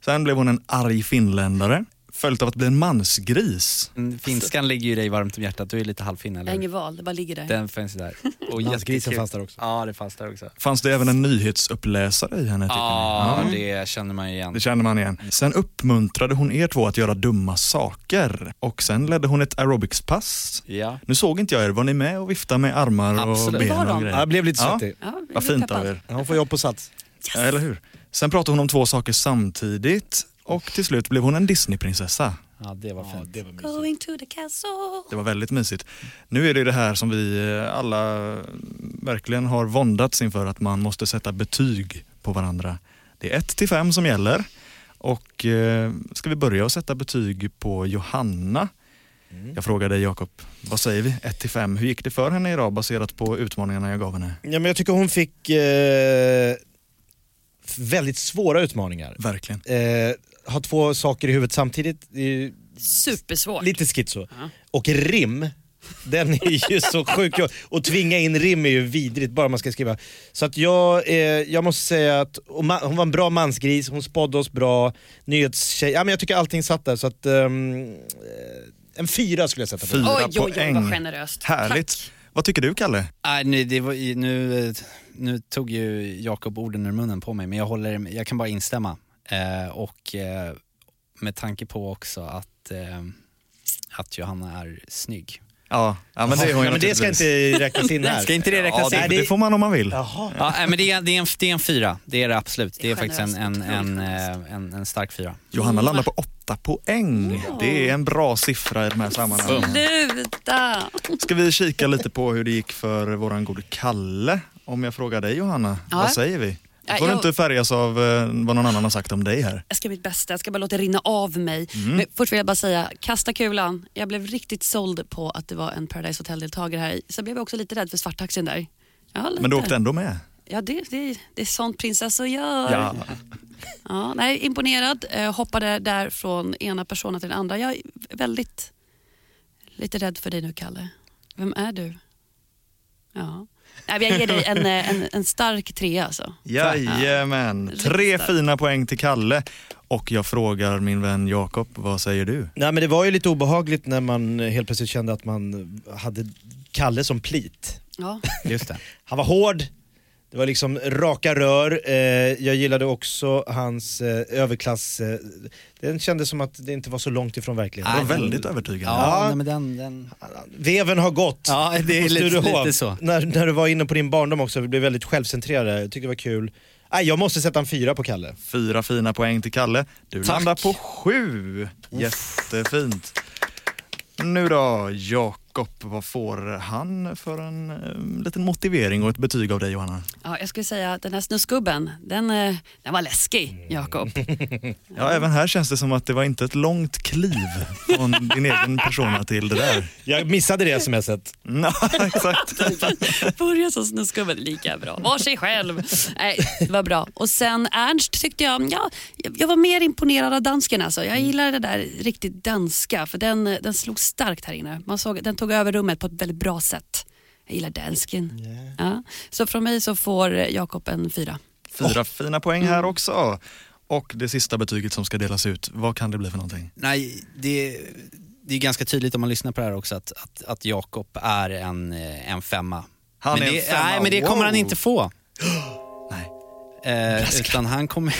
[SPEAKER 1] Sen blev hon en arg finländare, följt av att bli en mansgris.
[SPEAKER 6] Mm, Finskan ligger ju dig varmt om hjärtat. Du är lite halvfinne,
[SPEAKER 2] Jag
[SPEAKER 6] eller
[SPEAKER 2] har
[SPEAKER 6] hur?
[SPEAKER 2] inget val, det bara ligger där.
[SPEAKER 6] Den finns ju där. Och
[SPEAKER 3] Mansgrisen
[SPEAKER 6] jättekul.
[SPEAKER 3] fanns där också.
[SPEAKER 6] Ja, det fanns där också.
[SPEAKER 1] Fanns det även en nyhetsuppläsare i henne? tycker
[SPEAKER 6] Ja,
[SPEAKER 1] ni?
[SPEAKER 6] det känner man ju igen.
[SPEAKER 1] Det känner man igen. Sen uppmuntrade hon er två att göra dumma saker och sen ledde hon ett aerobicspass.
[SPEAKER 6] Ja.
[SPEAKER 1] Nu såg inte jag er, var ni med och viftade med armar
[SPEAKER 6] Absolut.
[SPEAKER 1] och
[SPEAKER 2] Det var
[SPEAKER 1] ben och
[SPEAKER 2] de.
[SPEAKER 1] grejer?
[SPEAKER 3] Ja, jag blev lite
[SPEAKER 1] Ja.
[SPEAKER 3] svettig.
[SPEAKER 2] Ja, jag
[SPEAKER 1] Vad
[SPEAKER 2] blir
[SPEAKER 1] fint av
[SPEAKER 2] peppad.
[SPEAKER 1] er.
[SPEAKER 3] Hon får jobb på Sats.
[SPEAKER 1] Ja, Eller hur? Sen pratade hon om två saker samtidigt och till slut blev hon en Disneyprinsessa.
[SPEAKER 6] ja, det var fint.
[SPEAKER 2] Going to the castle.
[SPEAKER 1] Det var väldigt mysigt. Nu är det ju det här som vi eh, alla verkligen har våndats inför att man måste sätta betyg på varandra. Det är 1 till 5 som gäller. Och eh, ska vi börja att sätta betyg på Johanna?
[SPEAKER 2] Mm.
[SPEAKER 1] Jag frågar dig Jakob, vad säger vi? 1 till 5. Hur gick det för henne idag baserat på utmaningarna jag gav henne?
[SPEAKER 3] Ja, men jag tycker hon fick eh, väldigt svåra utmaningar.
[SPEAKER 1] Verkligen.
[SPEAKER 3] Eh, ha två saker i huvudet samtidigt, det är ju
[SPEAKER 2] Supersvårt.
[SPEAKER 3] lite schizo. Och rim, den är ju så sjuk. Och tvinga in rim är ju vidrigt, bara man ska skriva. Så att jag, eh, jag måste säga att och ma- hon var en bra mansgris, hon spådde oss bra, nyhetstjej. Ja, men jag tycker allting satt där. Så att, ehm, eh, en fyra skulle jag sätta på
[SPEAKER 1] Fyra
[SPEAKER 2] Oj, oj, oj, vad
[SPEAKER 1] poäng.
[SPEAKER 2] generöst.
[SPEAKER 1] Härligt. Vad tycker du Kalle?
[SPEAKER 4] Nej, nu, det var, i- nu, eh, nu tog ju Jakob orden ur munnen på mig, men jag, håller, jag kan bara instämma. Eh, och eh, med tanke på också att, eh, att Johanna är snygg.
[SPEAKER 1] Ja, ja men det är hon
[SPEAKER 3] ja,
[SPEAKER 1] ju
[SPEAKER 3] men det ska
[SPEAKER 1] naturligtvis.
[SPEAKER 3] inte räknas in här.
[SPEAKER 4] Ska inte det
[SPEAKER 1] Ja,
[SPEAKER 4] räknas
[SPEAKER 1] det,
[SPEAKER 4] in?
[SPEAKER 1] det får man om man vill.
[SPEAKER 3] Jaha.
[SPEAKER 4] Ja, nej, men det, är, det, är en, det är en fyra, det är det absolut. Det är
[SPEAKER 2] Det är
[SPEAKER 4] faktiskt en, en,
[SPEAKER 2] generöst,
[SPEAKER 4] en,
[SPEAKER 2] otroligt generöst.
[SPEAKER 4] eh, en, en stark fyra.
[SPEAKER 1] Johanna landar på åtta poäng. Det är en bra siffra i de här
[SPEAKER 2] Mm.
[SPEAKER 1] sammanhangen.
[SPEAKER 2] Sluta!
[SPEAKER 1] Ska vi kika lite på hur det gick för våran gode Kalle? Om jag frågar dig Johanna,
[SPEAKER 2] Ja.
[SPEAKER 1] vad säger vi?
[SPEAKER 2] Ja,
[SPEAKER 1] Jag får
[SPEAKER 2] jag-
[SPEAKER 1] inte färgas av eh, vad någon annan har sagt om dig här.
[SPEAKER 2] Jag ska mitt bästa, jag ska bara låta det rinna av mig.
[SPEAKER 1] Mm.
[SPEAKER 2] Men först vill jag bara säga, kasta kulan. Jag blev riktigt såld på att det var en Paradise Hotel-deltagare här. Sen blev jag också lite rädd för svarttaxin där. Ja, lite.
[SPEAKER 1] Men du åkte ändå med.
[SPEAKER 2] Ja, det, det, det är sånt prinsessor gör.
[SPEAKER 1] Ja.
[SPEAKER 2] Ja, nej, imponerad. Eh, hoppade där från ena personen till den andra. Jag är väldigt lite rädd för dig nu, Kalle. Vem är du? Ja. Nej, men jag ger dig en, eh, en, en stark trea alltså.
[SPEAKER 1] Jajamän. Tre
[SPEAKER 2] Riktigt.
[SPEAKER 1] fina poäng till Kalle. Och jag frågar min vän Jakob, vad säger du?
[SPEAKER 3] Nej men det var ju lite obehagligt när man helt plötsligt kände att man hade Kalle som plit.
[SPEAKER 2] Ja.
[SPEAKER 4] Just det.
[SPEAKER 3] Han var hård, det var liksom raka rör. Eh, jag gillade också hans eh, överklass... Eh, den kändes som att det inte var så långt ifrån verkligheten.
[SPEAKER 4] Ah.
[SPEAKER 1] Det var väldigt övertygande.
[SPEAKER 4] Ja,
[SPEAKER 3] Ja.
[SPEAKER 4] Nej, men den, den...
[SPEAKER 3] Veven har gått.
[SPEAKER 4] ja det är
[SPEAKER 3] Måste
[SPEAKER 4] lite,
[SPEAKER 3] du ihåg?
[SPEAKER 4] lite så.
[SPEAKER 3] När, när du var inne på din barndom också, vi blev väldigt självcentrerade. Jag tyckte det var kul. Nej, jag måste sätta en fyra på Kalle.
[SPEAKER 1] Fyra fina poäng till Kalle. Du landar på sju. Jättefint. Nu då, Jakob. Vad får han för en eh, liten motivering och ett betyg av dig, Johanna?
[SPEAKER 2] ja, jag skulle säga att den här snusgubben, den, eh, den var läskig, Jakob.
[SPEAKER 1] Ja, även här känns det som att det var inte ett långt kliv från din egen persona till det där.
[SPEAKER 3] Jag missade det smset.
[SPEAKER 1] Ja, exakt.
[SPEAKER 2] Börja som snusgubben, lika bra. Var sig själv. Nej, det var bra. Och sen Ernst tyckte jag, ja, jag- jag var mer imponerad av dansken alltså. Jag gillar det där riktigt danska, för den, eh, den slog starkt här inne. Man såg, den tog över rummet på ett väldigt bra sätt. Jag gillar dansken. Ja. Så från mig så får eh, Jakob en fyra.
[SPEAKER 1] Fyra fina poäng här också. Och det sista betyget som ska delas ut, vad kan det bli för någonting?
[SPEAKER 4] Nej, det, det är ganska tydligt om man lyssnar på det här också att, att, att Jakob är en, eh, en femma.
[SPEAKER 1] Han
[SPEAKER 4] men
[SPEAKER 1] är
[SPEAKER 4] det,
[SPEAKER 1] en femma,
[SPEAKER 4] Nej, men det
[SPEAKER 1] wow.
[SPEAKER 4] kommer han inte få.
[SPEAKER 1] [GASPS] Nej.
[SPEAKER 4] Eh, utan han kommer...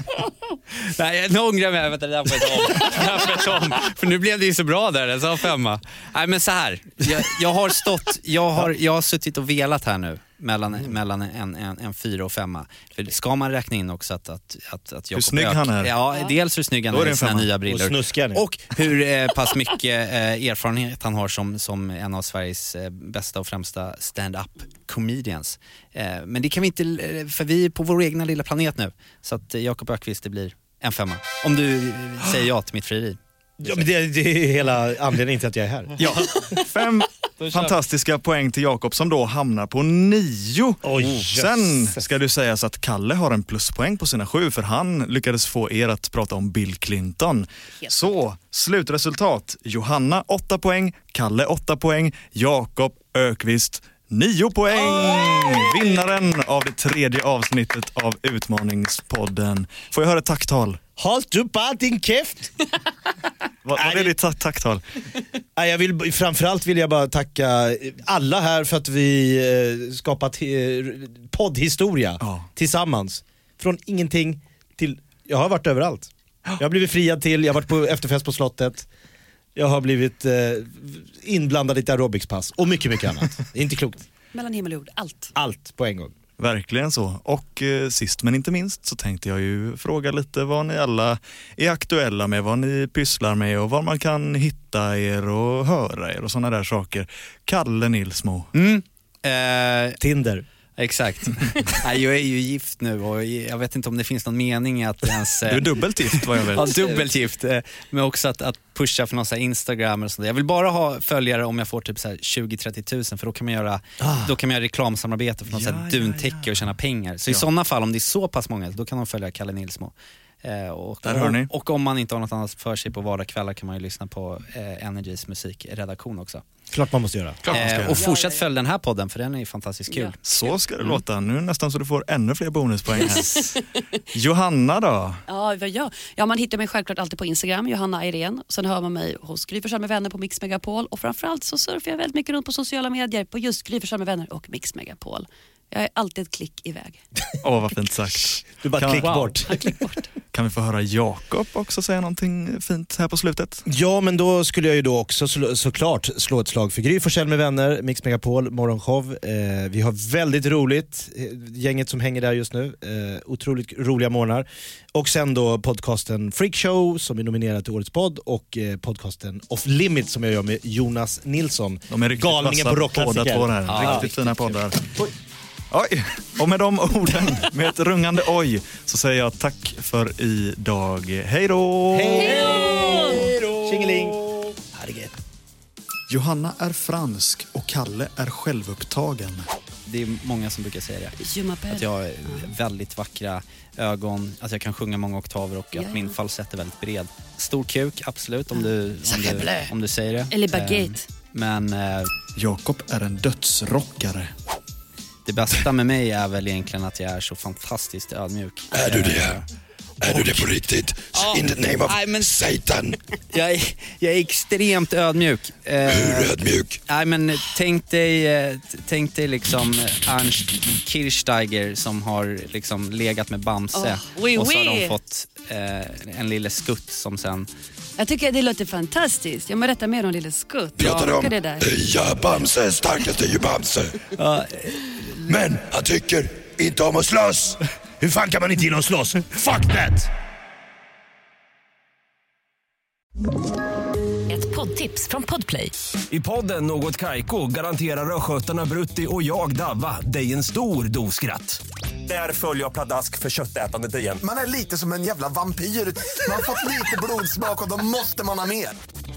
[SPEAKER 4] [LAUGHS] nej, nu ångrar jag mig. Vänta, det där får jag ta om. Det där får jag ta om. För nu blev det ju så bra där, jag sa femma. Nej, men så här. Jag, jag har stått, jag har, jag har suttit och velat här nu mellan,
[SPEAKER 1] Mm.
[SPEAKER 4] mellan en, en, en fyra och femma. För ska man räkna in också att, att, att, att Jakob
[SPEAKER 1] snygg
[SPEAKER 4] Ök-
[SPEAKER 1] han är.
[SPEAKER 4] Ja, dels hur snygg han
[SPEAKER 1] Då är
[SPEAKER 4] är
[SPEAKER 1] det en
[SPEAKER 4] i sina
[SPEAKER 1] femma.
[SPEAKER 4] nya
[SPEAKER 3] Och
[SPEAKER 4] brillor.
[SPEAKER 3] snuskar ni.
[SPEAKER 4] Och hur eh, pass mycket eh, erfarenhet han har som, som en av Sveriges eh, bästa och främsta stand-up comedians. Eh, men det kan vi inte, eh, för vi är på vår egna lilla planet nu. Så att eh, Jakob Ökvist det blir en femma. Om du eh, säger ja till mitt frieri.
[SPEAKER 3] Ja, men det, det är hela anledningen till att jag är här.
[SPEAKER 1] Ja, fem fantastiska poäng till Jakob som då hamnar på nio.
[SPEAKER 3] Oj,
[SPEAKER 1] Oh. Sen
[SPEAKER 3] jösses.
[SPEAKER 1] ska du sägas att Kalle har en pluspoäng på sina sju för han lyckades få er att prata om Bill Clinton. Så slutresultat Johanna 8 poäng, Kalle 8 poäng, Jakob Ökvist 9 poäng. Vinnaren av det tredje avsnittet av Utmaningspodden. Får jag höra ett tacktal?
[SPEAKER 3] Halt upp allt din käft!
[SPEAKER 1] Var, var det ditt ta- tacktal?
[SPEAKER 3] Nej, Jag vill, framförallt vill jag bara tacka alla här för att vi eh, skapat eh, poddhistoria
[SPEAKER 1] Ja.
[SPEAKER 3] tillsammans. Från ingenting till... Jag har varit överallt. Jag har blivit friad till, jag har varit på efterfest på slottet. Jag har blivit eh, inblandad i ett aerobicspass och mycket, mycket
[SPEAKER 6] [LAUGHS]
[SPEAKER 3] annat. Det är inte klokt.
[SPEAKER 2] Mellan himmel och jord, allt.
[SPEAKER 3] Allt på en gång.
[SPEAKER 1] Verkligen så. Och eh, sist men inte minst så tänkte jag ju fråga lite vad ni alla är aktuella med, vad ni pysslar med och var man kan hitta er och höra er och sådana där saker. Kalle Nilsmo.
[SPEAKER 4] Mm. Eh,
[SPEAKER 3] Tinder.
[SPEAKER 1] [LAUGHS]
[SPEAKER 4] exakt. Nej, jag är ju gift nu och jag vet inte om det finns någon mening i att ens... eh,
[SPEAKER 1] Du är dubbelt gift vad jag [LAUGHS]
[SPEAKER 4] Ja,
[SPEAKER 1] vet.
[SPEAKER 4] dubbelt gift. eh, Men också att, att pusha för någon så här Instagram och sånt. där. Jag vill bara ha följare om jag får typ så här 20-30 000 för då kan man göra,
[SPEAKER 6] Ah.
[SPEAKER 4] då kan man göra reklamsamarbete för något
[SPEAKER 1] Ja,
[SPEAKER 4] så här
[SPEAKER 1] ja,
[SPEAKER 4] duntäcke och tjäna pengar. Så i sådana fall, om det är så pass många, då kan de följa Kalle Nilsmo. Eh, och,
[SPEAKER 6] Där hör ni.
[SPEAKER 4] Och, om man inte har något annat för sig på vardagskvällar kan man ju lyssna på eh, Energys musikredaktion också.
[SPEAKER 3] Klart man måste göra.
[SPEAKER 6] Klart man ska
[SPEAKER 4] Eh,
[SPEAKER 6] göra.
[SPEAKER 4] och fortsätt följa den här podden för den är ju fantastiskt kul.
[SPEAKER 2] Ja.
[SPEAKER 6] Så ska det
[SPEAKER 1] Mm.
[SPEAKER 6] låta. Nu är det nästan så du får ännu fler bonuspoäng här. Johanna då?
[SPEAKER 2] Ja, vad jag? ja, man hittar mig självklart alltid på Instagram, Johanna Irene. Sen hör man mig hos Gry Forssell med vänner på Mix Megapol. Och framförallt så surfar jag väldigt mycket runt på sociala medier på just Gry Forssell med vänner och Mix Megapol. Jag är alltid ett klick iväg.
[SPEAKER 6] Åh, vad fint sagt.
[SPEAKER 3] Du bara
[SPEAKER 6] Kan-
[SPEAKER 3] klick
[SPEAKER 6] Wow.
[SPEAKER 3] bort.
[SPEAKER 6] Kan vi få höra Jakob också säga någonting fint här på slutet?
[SPEAKER 3] Ja, men då skulle jag ju då också sl- såklart slå ett slag för Gry Forssell med vänner, Mix Megapol, morgonshow. Eh, vi har väldigt roligt, eh, gänget som hänger där just nu. Eh, otroligt roliga morgnar. Och sen då podcasten Freakshow som är nominerad till Årets podd och eh, podcasten Off Limit som jag gör med Jonas Nilsson.
[SPEAKER 6] De är riktigt
[SPEAKER 3] Galningen
[SPEAKER 6] vassa
[SPEAKER 3] på
[SPEAKER 6] båda
[SPEAKER 3] rockklassiker.
[SPEAKER 6] två här.
[SPEAKER 3] Ja.
[SPEAKER 6] riktigt fina poddar. Oj, och med de orden, med ett rungande oj, så säger jag tack för idag. Hej då!
[SPEAKER 3] Tjingeling!
[SPEAKER 6] Johanna är fransk och Kalle är självupptagen.
[SPEAKER 4] Det är många som brukar säga det.
[SPEAKER 2] Juma
[SPEAKER 4] Att jag har väldigt vackra ögon, att jag kan sjunga många oktaver och
[SPEAKER 2] Ja, ja.
[SPEAKER 4] att min falsett är väldigt bred. Stor kuk, absolut, om du, om
[SPEAKER 2] Sacré
[SPEAKER 4] du,
[SPEAKER 2] bleu.
[SPEAKER 4] om du säger det.
[SPEAKER 2] Eller baguette.
[SPEAKER 4] Eh, Men eh,
[SPEAKER 6] Jakob är en dödsrockare.
[SPEAKER 4] det bästa med mig är väl egentligen att jag är så fantastiskt ödmjuk. Är du det?
[SPEAKER 7] Är du det på riktigt? In the name of
[SPEAKER 4] Nej, men-
[SPEAKER 7] Satan.
[SPEAKER 4] Jag är, jag är extremt ödmjuk. Eh,
[SPEAKER 7] Ödmjuk.
[SPEAKER 4] Nej men tänk dig, eh, t- tänk dig liksom eh, Ernst Kirchsteiger som har liksom legat med Bamse
[SPEAKER 2] Åh, oui,
[SPEAKER 4] och så har
[SPEAKER 2] oui.
[SPEAKER 4] de fått eh, en lille skutt som sen...
[SPEAKER 2] Jag tycker det låter fantastiskt. Jag må rätta med om lille Skutt. Jag
[SPEAKER 7] Pratar
[SPEAKER 2] älskar
[SPEAKER 7] om
[SPEAKER 2] det där.
[SPEAKER 7] ja, Bamse, starkast är ju Bamse. Men han tycker inte om att slåss. Hur fan kan man inte gilla att slåss? Fuck that!
[SPEAKER 8] Ett poddtips från Podplay.
[SPEAKER 7] I podden Något Kaiko garanterar östgötarna Brutti och jag, Davva, dig en stor dos skratt. Där följer jag pladask för köttätandet igen.
[SPEAKER 9] Man är lite som en jävla vampyr. Man har fått lite blodsmak och då måste man ha mer.